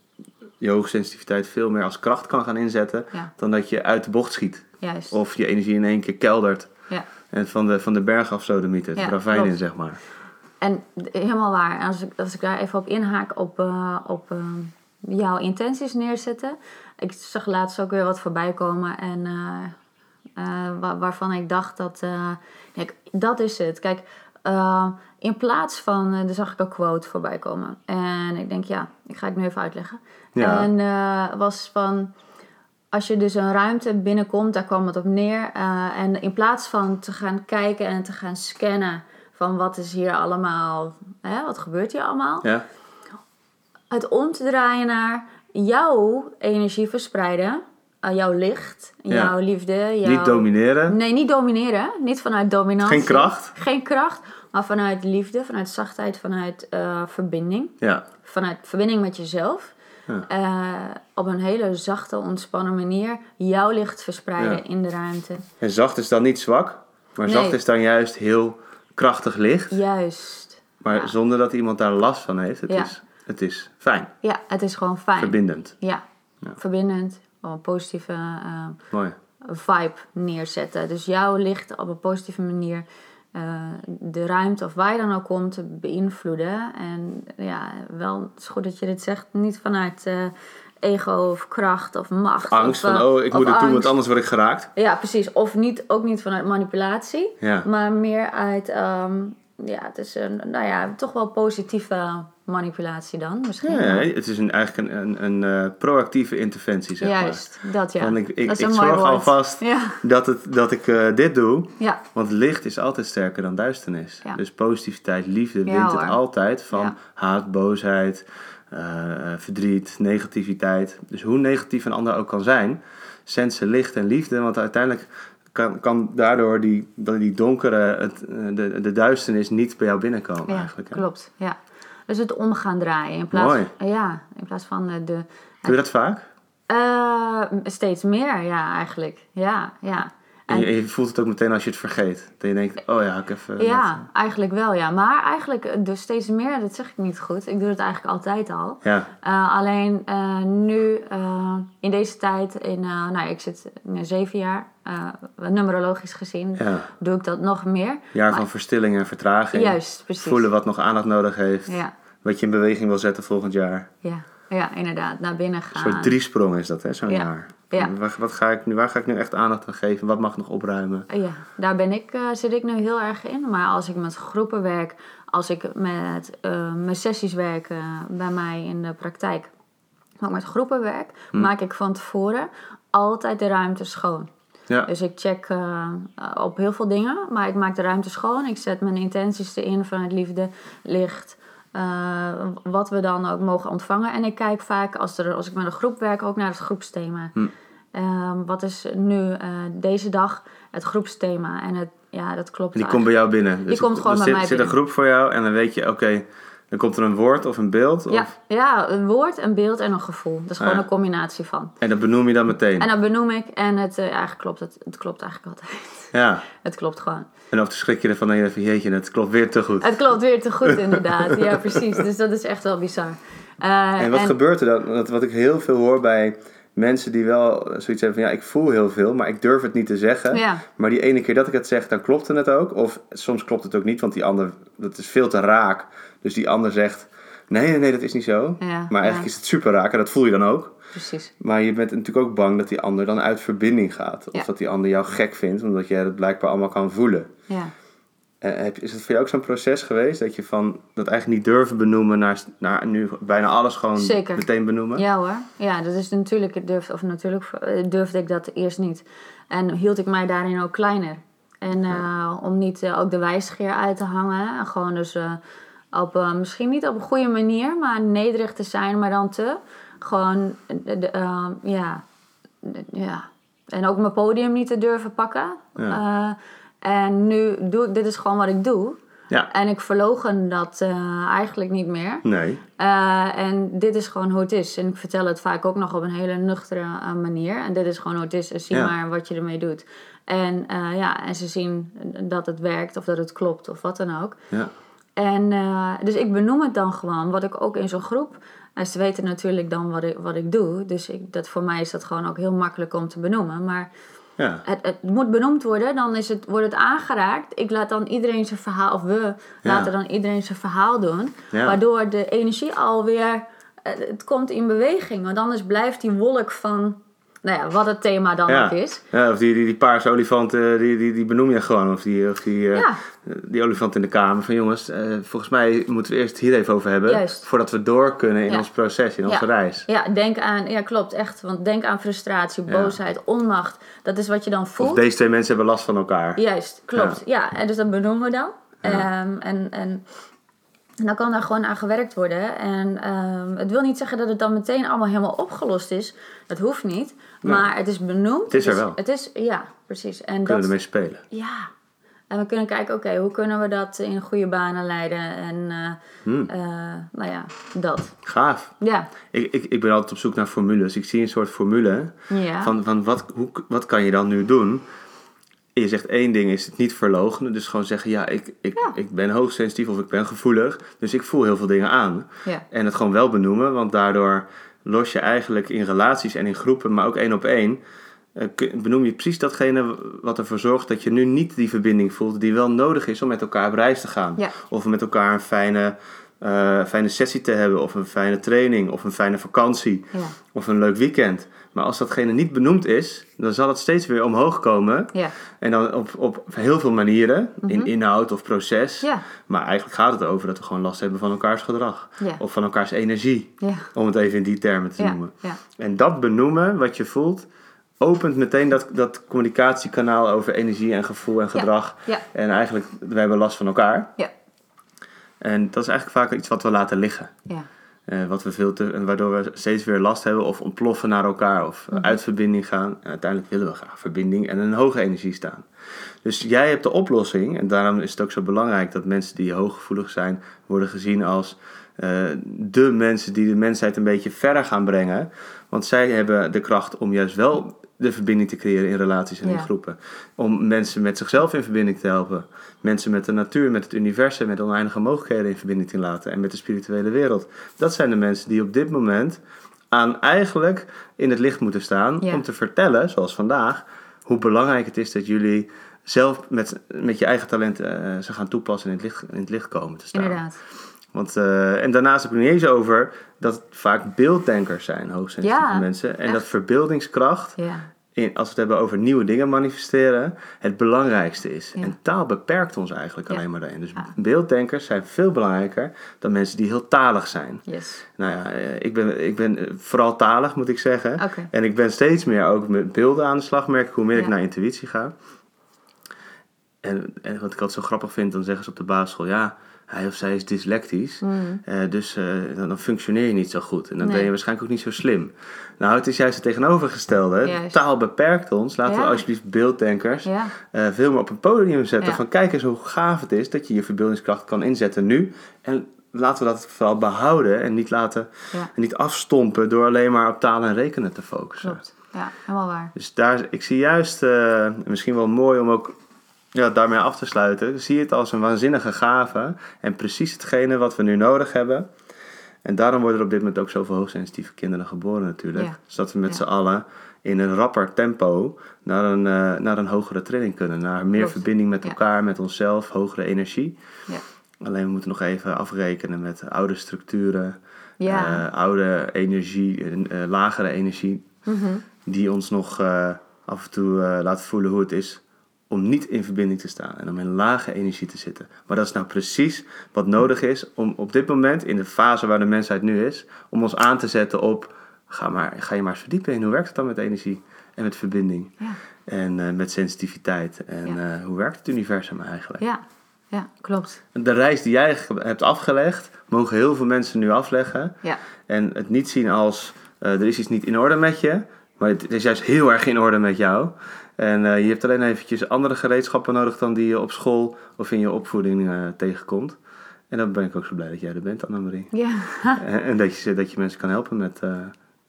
S2: je hoge sensitiviteit veel meer als kracht kan gaan inzetten.
S1: Ja.
S2: Dan dat je uit de bocht schiet.
S1: Juist.
S2: Of je energie in één keer keldert.
S1: Ja.
S2: En van de, van de berg af sodemieten, het
S1: Ja,
S2: ravijn in,
S1: klopt.
S2: zeg maar.
S1: En d- helemaal waar. En als ik, als ik daar even op inhaak op, eh, op eh, jouw intenties neerzetten. Ik zag laatst ook weer wat voorbij komen. En eh, eh, wa- waarvan ik dacht dat... eh, kijk, dat is het. Kijk, eh, in plaats van... eh, daar zag ik een quote voorbij komen. En ik denk, ja, ik ga het nu even uitleggen.
S2: Ja.
S1: En eh, was van als je dus een ruimte binnenkomt, daar kwam het op neer. eh, en in plaats van te gaan kijken en te gaan scannen van wat is hier allemaal, hè, wat gebeurt hier allemaal,
S2: Ja,
S1: het om te draaien naar jouw energie verspreiden, eh, jouw licht,
S2: Ja.
S1: jouw liefde, jouw...
S2: Niet domineren.
S1: Nee, niet domineren. Niet vanuit dominantie.
S2: Geen kracht.
S1: Geen kracht, maar vanuit liefde, vanuit zachtheid, vanuit eh, verbinding
S2: Ja,
S1: vanuit verbinding met jezelf.
S2: Ja.
S1: eh, op een hele zachte, ontspannen manier jouw licht verspreiden
S2: Ja.
S1: in de ruimte.
S2: en zacht is dan niet zwak, maar
S1: Nee.
S2: zacht is dan juist heel krachtig licht.
S1: Juist.
S2: Maar
S1: Ja.
S2: zonder dat iemand daar last van heeft. Het,
S1: Ja.
S2: is, het is fijn,
S1: Ja, het is gewoon fijn.
S2: verbindend.
S1: ja. verbindend. Op een positieve eh,
S2: Mooi.
S1: vibe neerzetten. Dus jouw licht op een positieve manier eh, de ruimte of waar je dan ook komt beïnvloeden. En ja, wel, het is goed dat je dit zegt. Niet vanuit eh, ego of kracht of macht.
S2: angst
S1: of,
S2: van
S1: eh,
S2: oh, ik
S1: of
S2: moet het doen,
S1: angst.
S2: want anders word ik geraakt.
S1: Ja, precies. Of niet, ook niet vanuit manipulatie,
S2: Ja.
S1: maar meer uit, ehm, ja, het is een, nou ja, toch wel positieve manipulatie dan misschien.
S2: Ja, het is een, eigenlijk een, een, een eh, proactieve interventie, zeg
S1: Juist, dat ja.
S2: Want ik- ik-
S1: dat is
S2: ik
S1: een mooi
S2: zorg
S1: woord.
S2: alvast-
S1: Ja,
S2: maar. Dat, het, dat ik eh, dit doe,
S1: ja,
S2: want licht is altijd sterker dan duisternis.
S1: Ja.
S2: Dus positiviteit, liefde
S1: Ja,
S2: wint het
S1: hoor.
S2: altijd van
S1: Ja.
S2: haat, boosheid, eh, eh, verdriet, negativiteit. Dus hoe negatief een ander ook kan zijn, sensen licht en liefde, want uiteindelijk kan, kan daardoor die, die donkere, het, eh, de, de duisternis niet bij jou binnenkomen
S1: ja,
S2: eigenlijk. hè.
S1: klopt. Ja. Dus het om gaan draaien in plaats,
S2: Mooi.
S1: Ja, in plaats van eh, de...
S2: Doe je dat vaak?
S1: Eh, steeds meer, ja, eigenlijk. Ja, ja.
S2: En je, en je voelt het ook meteen als je het vergeet. Dat je denkt, oh ja, ik even...
S1: Ja, eigenlijk wel, ja. Maar eigenlijk eh, dus steeds meer, dat zeg ik niet goed. Ik doe het eigenlijk altijd al.
S2: Ja,
S1: Eh, alleen eh, nu, eh, in deze tijd, in, eh, nou, ik zit nu zeven jaar, eh, numerologisch gezien,
S2: ja.
S1: doe ik dat nog meer.
S2: Jaar van verstilling en vertraging.
S1: Juist, precies.
S2: Voelen wat nog aandacht nodig heeft.
S1: Ja,
S2: Wat je in beweging wil zetten volgend jaar.
S1: ja, ja, inderdaad, naar binnen
S2: Een
S1: gaan.
S2: soort driesprong is dat, hè, zo'n
S1: Ah. Ja.
S2: jaar.
S1: Ja.
S2: Van, Waar, wat ga ik nu, waar ga ik nu echt aandacht aan geven? Wat mag ik nog opruimen?
S1: Ja, daar ben ik, eh, zit ik nu heel erg in. Maar als ik met groepen werk, als ik met eh, mijn sessies werk eh, bij mij in de praktijk, maar ook met groepen werk,
S2: Hm.
S1: maak ik van tevoren altijd de ruimte schoon.
S2: Ja,
S1: Dus ik check eh, op heel veel dingen, maar ik maak de ruimte schoon. Ik zet mijn intenties erin vanuit liefde, licht, eh, wat we dan ook mogen ontvangen. En ik kijk vaak, als, er, als ik met een groep werk, ook naar het groepsthema.
S2: Hm.
S1: Ehm, wat is nu eh, deze dag het groepsthema? En het, ja, dat klopt
S2: die
S1: eigenlijk.
S2: komt bij jou binnen. Dus
S1: komt
S2: er-
S1: gewoon
S2: er
S1: bij
S2: zit,
S1: mij
S2: zit een
S1: binnen.
S2: groep voor jou en dan weet je, oké, dan komt er een woord of een beeld. Of,
S1: ja, ja, een woord, een beeld en een gevoel. Dat is gewoon
S2: Ah, ja.
S1: een combinatie van.
S2: En dat benoem je dan meteen.
S1: En dat benoem ik en het, eh, eigenlijk klopt, het, het klopt eigenlijk altijd.
S2: Ja.
S1: Het klopt gewoon.
S2: En of schrik je ervan en je denkt, van, jeetje, het klopt weer te goed.
S1: Het klopt weer te goed, inderdaad. Ja, precies. Dus dat is echt wel bizar. Eh,
S2: En wat gebeurt er dan? Want wat ik heel veel hoor bij mensen die wel zoiets hebben van ja, ik voel heel veel, maar ik durf het niet te zeggen.
S1: Ja.
S2: Maar die ene keer dat ik het zeg, dan klopte het ook. Of soms klopt het ook niet, want die ander, dat is veel te raak. Dus die ander zegt, Nee, nee, nee, dat is niet zo.
S1: Ja,
S2: maar eigenlijk
S1: ja.
S2: is het super raak en dat voel je dan ook.
S1: Precies.
S2: Maar je bent natuurlijk ook bang dat die ander dan uit verbinding gaat. Of
S1: Ja.
S2: dat die ander jou gek vindt, omdat jij dat blijkbaar allemaal kan voelen.
S1: Ja.
S2: Eh, heb- is het voor jou ook zo'n proces geweest dat je van dat eigenlijk niet durven benoemen naar, naar nu bijna alles gewoon
S1: Zeker.
S2: meteen benoemen?
S1: Ja hoor. Ja, dat is natuurlijk, ik durfde, of natuurlijk eh, durfde ik dat eerst niet. En hield ik mij daarin ook kleiner. En eh, om niet eh, ook de wijsgeer uit te hangen. En gewoon dus eh, op, eh, misschien niet op een goede manier, maar nederig te zijn, maar dan te. Gewoon, eh, de- de, eh, ja. De- ja. En ook mijn podium niet te durven pakken.
S2: Ja.
S1: Eh, en nu doe ik, dit is gewoon wat ik doe.
S2: Ja.
S1: En ik verlogen dat eh, eigenlijk niet meer.
S2: Nee.
S1: Eh, en dit is gewoon hoe het is. En ik vertel het vaak ook nog op een hele nuchtere eh, manier. En dit is gewoon hoe het is. En zie
S2: Ja.
S1: maar wat je ermee doet. En, eh, ja, en ze zien dat het werkt of dat het klopt of wat dan ook.
S2: Ja.
S1: En, eh, dus ik benoem het dan gewoon. Wat ik ook in zo'n groep. En ze weten natuurlijk dan wat ik, wat ik doe. Dus ik, dat, voor mij is dat gewoon ook heel makkelijk om te benoemen. Maar
S2: Ja.
S1: het, het moet benoemd worden, dan is het, wordt het aangeraakt. Ik laat dan iedereen zijn verhaal, of we
S2: Ja.
S1: laten dan iedereen zijn verhaal doen.
S2: Ja.
S1: Waardoor de energie alweer, eh, het komt in beweging. Want anders blijft die wolk van, nou ja, wat het thema dan
S2: Ja.
S1: ook is.
S2: Ja, of die, die, die paarse olifant, eh, die, die, die benoem je gewoon. Of die, of die, eh,
S1: Ja.
S2: die olifant in de kamer. Van jongens, eh, volgens mij moeten we eerst het hier even over hebben.
S1: Juist.
S2: Voordat we door kunnen in
S1: Ja.
S2: ons proces, in onze
S1: Ja.
S2: reis.
S1: Ja, denk aan, ja klopt, echt. Want denk aan frustratie,
S2: Ja.
S1: boosheid, onmacht. Dat is wat je dan voelt.
S2: Of deze twee mensen hebben last van elkaar.
S1: Juist, klopt. Ja, en dus dat benoemen we dan.
S2: Ja.
S1: Ehm, en, en dan kan daar gewoon aan gewerkt worden. En ehm, het wil niet zeggen dat het dan meteen allemaal helemaal opgelost is. Dat hoeft niet.
S2: Nee.
S1: Maar het is benoemd. Het
S2: is er wel.
S1: Het is, ja, precies. En
S2: Kunnen we
S1: dat,
S2: ermee spelen.
S1: ja. En we kunnen kijken, oké, hoe kunnen we dat in goede banen leiden? En, eh,
S2: Hmm.
S1: eh, nou ja, dat.
S2: Gaaf.
S1: Ja.
S2: Ik, ik, ik ben altijd op zoek naar formules. Ik zie een soort formule.
S1: Ja.
S2: Van, van wat, hoe, wat kan je dan nu doen? En je zegt één ding is het niet verloochenen. Dus gewoon zeggen, ja, ik, ik,
S1: Ja.
S2: ik ben hoogsensitief of ik ben gevoelig. Dus ik voel heel veel dingen aan.
S1: ja.
S2: En het gewoon wel benoemen, want daardoor los je eigenlijk in relaties en in groepen, maar ook één op één, eh, kun- benoem je precies datgene wat ervoor zorgt dat je nu niet die verbinding voelt die wel nodig is om met elkaar op reis te gaan.
S1: Ja.
S2: Of om met elkaar een fijne, eh, fijne sessie te hebben, of een fijne training, of een fijne vakantie,
S1: Ja.
S2: of een leuk weekend. Maar als datgene niet benoemd is, dan zal het steeds weer omhoog komen.
S1: Ja.
S2: En dan op, op heel veel manieren, in inhoud of proces.
S1: Ja.
S2: Maar eigenlijk gaat het over dat we gewoon last hebben van elkaars gedrag.
S1: Ja.
S2: Of van elkaars energie,
S1: Ja.
S2: om het even in die termen te
S1: Ja.
S2: noemen.
S1: Ja.
S2: En dat benoemen, wat je voelt, opent meteen dat, dat communicatiekanaal over energie en gevoel en gedrag.
S1: Ja.
S2: En eigenlijk, we hebben last van elkaar.
S1: Ja.
S2: En dat is eigenlijk vaak iets wat we laten liggen.
S1: Ja.
S2: Eh, wat we veel te, en waardoor we steeds weer last hebben of ontploffen naar elkaar of eh, uit verbinding gaan. En uiteindelijk willen we graag verbinding en een hoge energie staan. Dus jij hebt de oplossing en daarom is het ook zo belangrijk dat mensen die hooggevoelig zijn worden gezien als eh de mensen die de mensheid een beetje verder gaan brengen. Want zij hebben de kracht om juist wel de verbinding te creëren in relaties en in
S1: Ja.
S2: groepen. Om mensen met zichzelf in verbinding te helpen. Mensen met de natuur, met het universum, met oneindige mogelijkheden in verbinding te laten. En met de spirituele wereld. Dat zijn de mensen die op dit moment aan eigenlijk in het licht moeten staan.
S1: Ja.
S2: Om te vertellen, zoals vandaag, hoe belangrijk het is dat jullie zelf met, met je eigen talent eh, ze gaan toepassen en in het licht, in het licht komen te staan.
S1: Inderdaad.
S2: Want, eh, en daarnaast heb ik het niet eens over dat het vaak beelddenkers zijn, hoogsensitieve
S1: Ja,
S2: mensen. En
S1: echt.
S2: dat verbeeldingskracht
S1: Ja.
S2: in, als we het hebben over nieuwe dingen manifesteren, het belangrijkste is.
S1: Ja.
S2: En taal beperkt ons eigenlijk
S1: Ja.
S2: alleen maar daarin. Dus
S1: Ja.
S2: beelddenkers zijn veel belangrijker dan mensen die heel talig zijn.
S1: Yes.
S2: Nou ja, eh, ik ben, ik ben eh, vooral talig, moet ik zeggen.
S1: Oké.
S2: En ik ben steeds meer ook met beelden aan de slag, merk ik hoe meer ik
S1: Ja.
S2: naar intuïtie ga. En, en wat ik altijd zo grappig vind, dan zeggen ze op de basisschool, ja, hij of zij is
S1: Mm.
S2: dyslectisch,
S1: Hmm.
S2: eh, dus eh, dan, dan functioneer je niet zo goed. En dan ben
S1: Nee.
S2: je waarschijnlijk ook niet zo slim. Nou, het is juist het tegenovergestelde.
S1: Juist.
S2: Taal beperkt ons. Laten we
S1: Ja.
S2: alsjeblieft beelddenkers
S1: Ja.
S2: eh, veel meer op een podium zetten.
S1: Ja.
S2: Van kijk eens hoe gaaf het is dat je je verbeeldingskracht kan inzetten nu. En laten we dat vooral behouden en niet, laten,
S1: Ja.
S2: en niet afstompen door alleen maar op taal en rekenen te focussen.
S1: Klopt. Ja, helemaal waar.
S2: Dus daar, ik zie juist, eh, misschien wel mooi om ook ja, daarmee af te sluiten, ik zie het als een waanzinnige gave en precies hetgene wat we nu nodig hebben. En daarom worden er op dit moment ook zoveel hoogsensitieve kinderen geboren natuurlijk.
S1: Ja.
S2: Zodat we met
S1: Ja.
S2: z'n allen in een rapper tempo naar een, eh, naar een hogere trilling kunnen. Naar meer
S1: Klopt.
S2: verbinding met
S1: Ja.
S2: elkaar, met onszelf, hogere energie.
S1: Ja.
S2: Alleen we moeten nog even afrekenen met oude structuren,
S1: Ja.
S2: eh, oude energie, eh, eh, lagere energie,
S1: Mhm.
S2: die ons nog eh, af en toe eh, laat voelen hoe het is om niet in verbinding te staan en om in lage energie te zitten. Maar dat is nou precies wat nodig is om op dit moment, in de fase waar de mensheid nu is, om ons aan te zetten op, ga, maar, ga je maar eens verdiepen in hoe werkt het dan met energie en met verbinding
S1: ja.
S2: en eh, met sensitiviteit en
S1: Ja.
S2: eh, hoe werkt het universum eigenlijk.
S1: Ja. ja, klopt.
S2: De reis die jij ge- hebt afgelegd, mogen heel veel mensen nu afleggen.
S1: Ja.
S2: En het niet zien als eh, er is iets niet in orde met je, maar het is juist heel erg in orde met jou. En eh, je hebt alleen eventjes andere gereedschappen nodig dan die je op school of in je opvoeding eh, tegenkomt. En dan ben ik ook zo blij dat jij er bent, Annemarie.
S1: Ja.
S2: en en dat je, ze- dat je mensen kan helpen met, eh,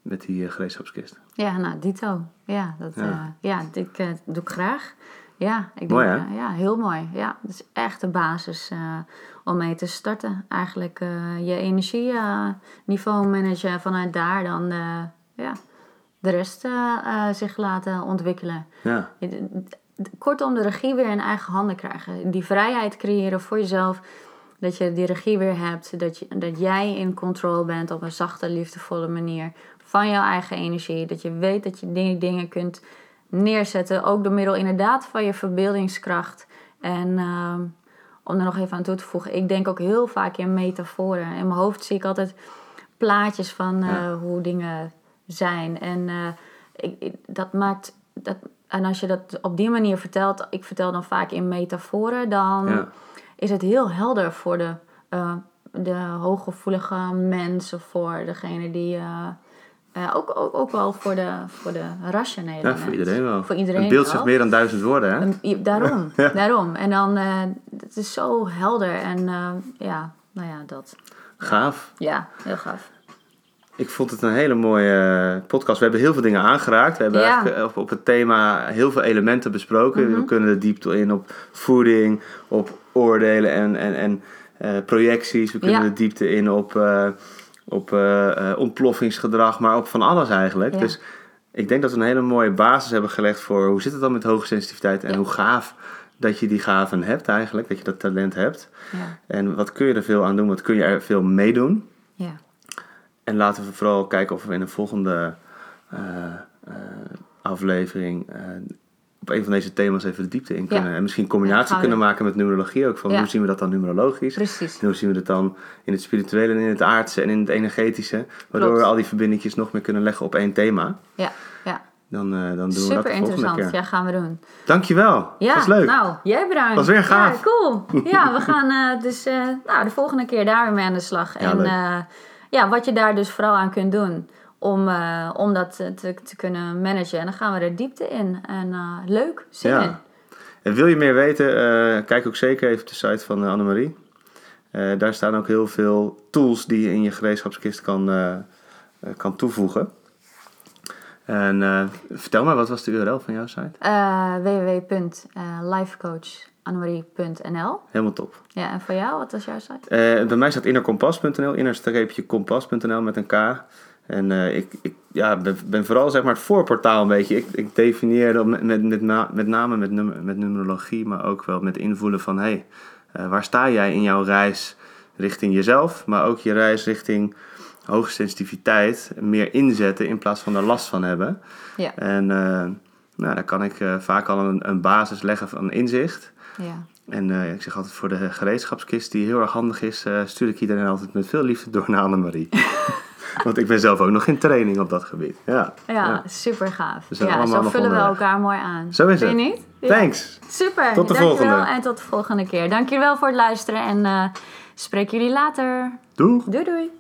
S2: met die eh, gereedschapskist.
S1: ja, nou, dito. Ja, dat
S2: Ja.
S1: eh, ja, ik, eh, doe ik graag. Ja, ik
S2: Mooi,
S1: denk,
S2: hè?
S1: eh, ja, heel mooi. Ja, dat is echt de basis eh, om mee te starten. Eigenlijk eh, je energieniveau managen en vanuit daar dan eh, ja, de rest eh, eh, zich laten ontwikkelen.
S2: Ja,
S1: Kortom, de regie weer in eigen handen krijgen. Die vrijheid creëren voor jezelf. Dat je die regie weer hebt. Dat, je, dat jij in control bent op een zachte, liefdevolle manier. Van jouw eigen energie. Dat je weet dat je die dingen kunt neerzetten. Ook door middel inderdaad van je verbeeldingskracht. En ehm, om er nog even aan toe te voegen. Ik denk ook heel vaak in metaforen. In mijn hoofd zie ik altijd plaatjes van eh,
S2: Ja.
S1: hoe dingen zijn. En eh, ik, ik- dat maakt... Dat, en als je dat op die manier vertelt... Ik vertel dan vaak in metaforen. Dan
S2: Ja.
S1: is het heel helder voor de, eh, de hooggevoelige mensen. Voor degene die... eh, eh, ook, ook, ook wel voor de, voor de rationele
S2: ja
S1: mensen.
S2: voor iedereen wel.
S1: Voor iedereen
S2: het beeld
S1: wel.
S2: zegt meer dan duizend woorden, hè?
S1: Een- ja, Daarom, daarom. En dan, eh, het is zo helder en eh, ja, nou ja, dat.
S2: Gaaf.
S1: Ja, heel gaaf.
S2: Ik vond het een hele mooie eh, podcast. We hebben heel veel dingen aangeraakt. We hebben
S1: Ja. Mhm.
S2: eigenlijk eh, op, op het thema heel veel elementen besproken. We kunnen er diep in op voeding, op oordelen en, en, en eh, projecties. We kunnen
S1: Ja.
S2: de diepte in op, eh, op eh, eh, ontploffingsgedrag, maar op van alles eigenlijk.
S1: Ja.
S2: Dus ik denk dat we een hele mooie basis hebben gelegd voor hoe zit het dan met hoge sensitiviteit en
S1: Ja.
S2: hoe gaaf dat je die gaven hebt eigenlijk, dat je dat talent hebt.
S1: Ja,
S2: En wat kun je er veel aan doen, wat kun je er veel mee doen.
S1: ja.
S2: En laten we vooral kijken of we in een volgende eh, eh, aflevering eh, op een van deze thema's even de diepte in kunnen.
S1: Ja.
S2: En misschien combinatie
S1: gaan we
S2: kunnen
S1: doen.
S2: maken met numerologie ook. Van
S1: Ja.
S2: Hoe zien we dat dan numerologisch?
S1: precies.
S2: En hoe zien we dat dan in het spirituele en in het aardse en in het energetische? Waardoor
S1: Klopt.
S2: we al die verbindingjes nog meer kunnen leggen op één thema.
S1: Ja, ja.
S2: Dan, eh, dan doen we dat
S1: Super
S2: de volgende
S1: interessant.
S2: keer.
S1: Ja, gaan we doen.
S2: Dankjewel.
S1: Ja,
S2: was leuk.
S1: nou, jij bedankt.
S2: Was weer gaaf.
S1: Ja, cool. Ja, we gaan eh, dus eh, nou, de volgende keer daar weer mee aan de slag. en
S2: leuk.
S1: eh, ja, wat je daar dus vooral aan kunt doen om, eh, om dat eh, te, te kunnen managen. En dan gaan we er diepte in. En eh, leuk, zin in.
S2: Ja. En wil je meer weten, eh, kijk ook zeker even op de site van eh, Annemarie. Eh, daar staan ook heel veel tools die je in je gereedschapskist kan, eh, eh, kan toevoegen. En eh, vertel maar, wat was de URL van jouw site?
S1: eh www.lifecoachannemarie.nl
S2: Helemaal top.
S1: Ja, en voor jou, wat was jouw site?
S2: Eh, bij mij staat innerkompas.nl, innerstreepje kompas.nl met een K. En eh, ik, ik ja, ben, ben vooral zeg maar het voorportaal een beetje. Ik, ik definieer dat met, met, met, na- met name met, nummer, met numerologie, maar ook wel met invoelen van... Hey, eh, waar sta jij in jouw reis richting jezelf, maar ook je reis richting hoge sensitiviteit... meer inzetten in plaats van er last van hebben.
S1: Ja,
S2: En eh, nou, daar kan ik eh, vaak al een, een basis leggen van inzicht...
S1: ja.
S2: En eh, ik zeg altijd voor de gereedschapskist die heel erg handig is, eh, stuur ik iedereen altijd met veel liefde door naar Annemarie. Want ik ben zelf ook nog in training op dat gebied. Ja,
S1: Ja, super gaaf.
S2: zijn
S1: Ja,
S2: allemaal
S1: zo
S2: nog
S1: vullen we
S2: onderweg.
S1: elkaar mooi aan.
S2: Zo is
S1: Vind je
S2: het.
S1: niet? Ja.
S2: Thanks.
S1: Super.
S2: Tot de
S1: Dankjewel
S2: volgende.
S1: en tot de volgende keer. Dankjewel voor het luisteren en eh spreek jullie later.
S2: Doeg.
S1: Doei doei.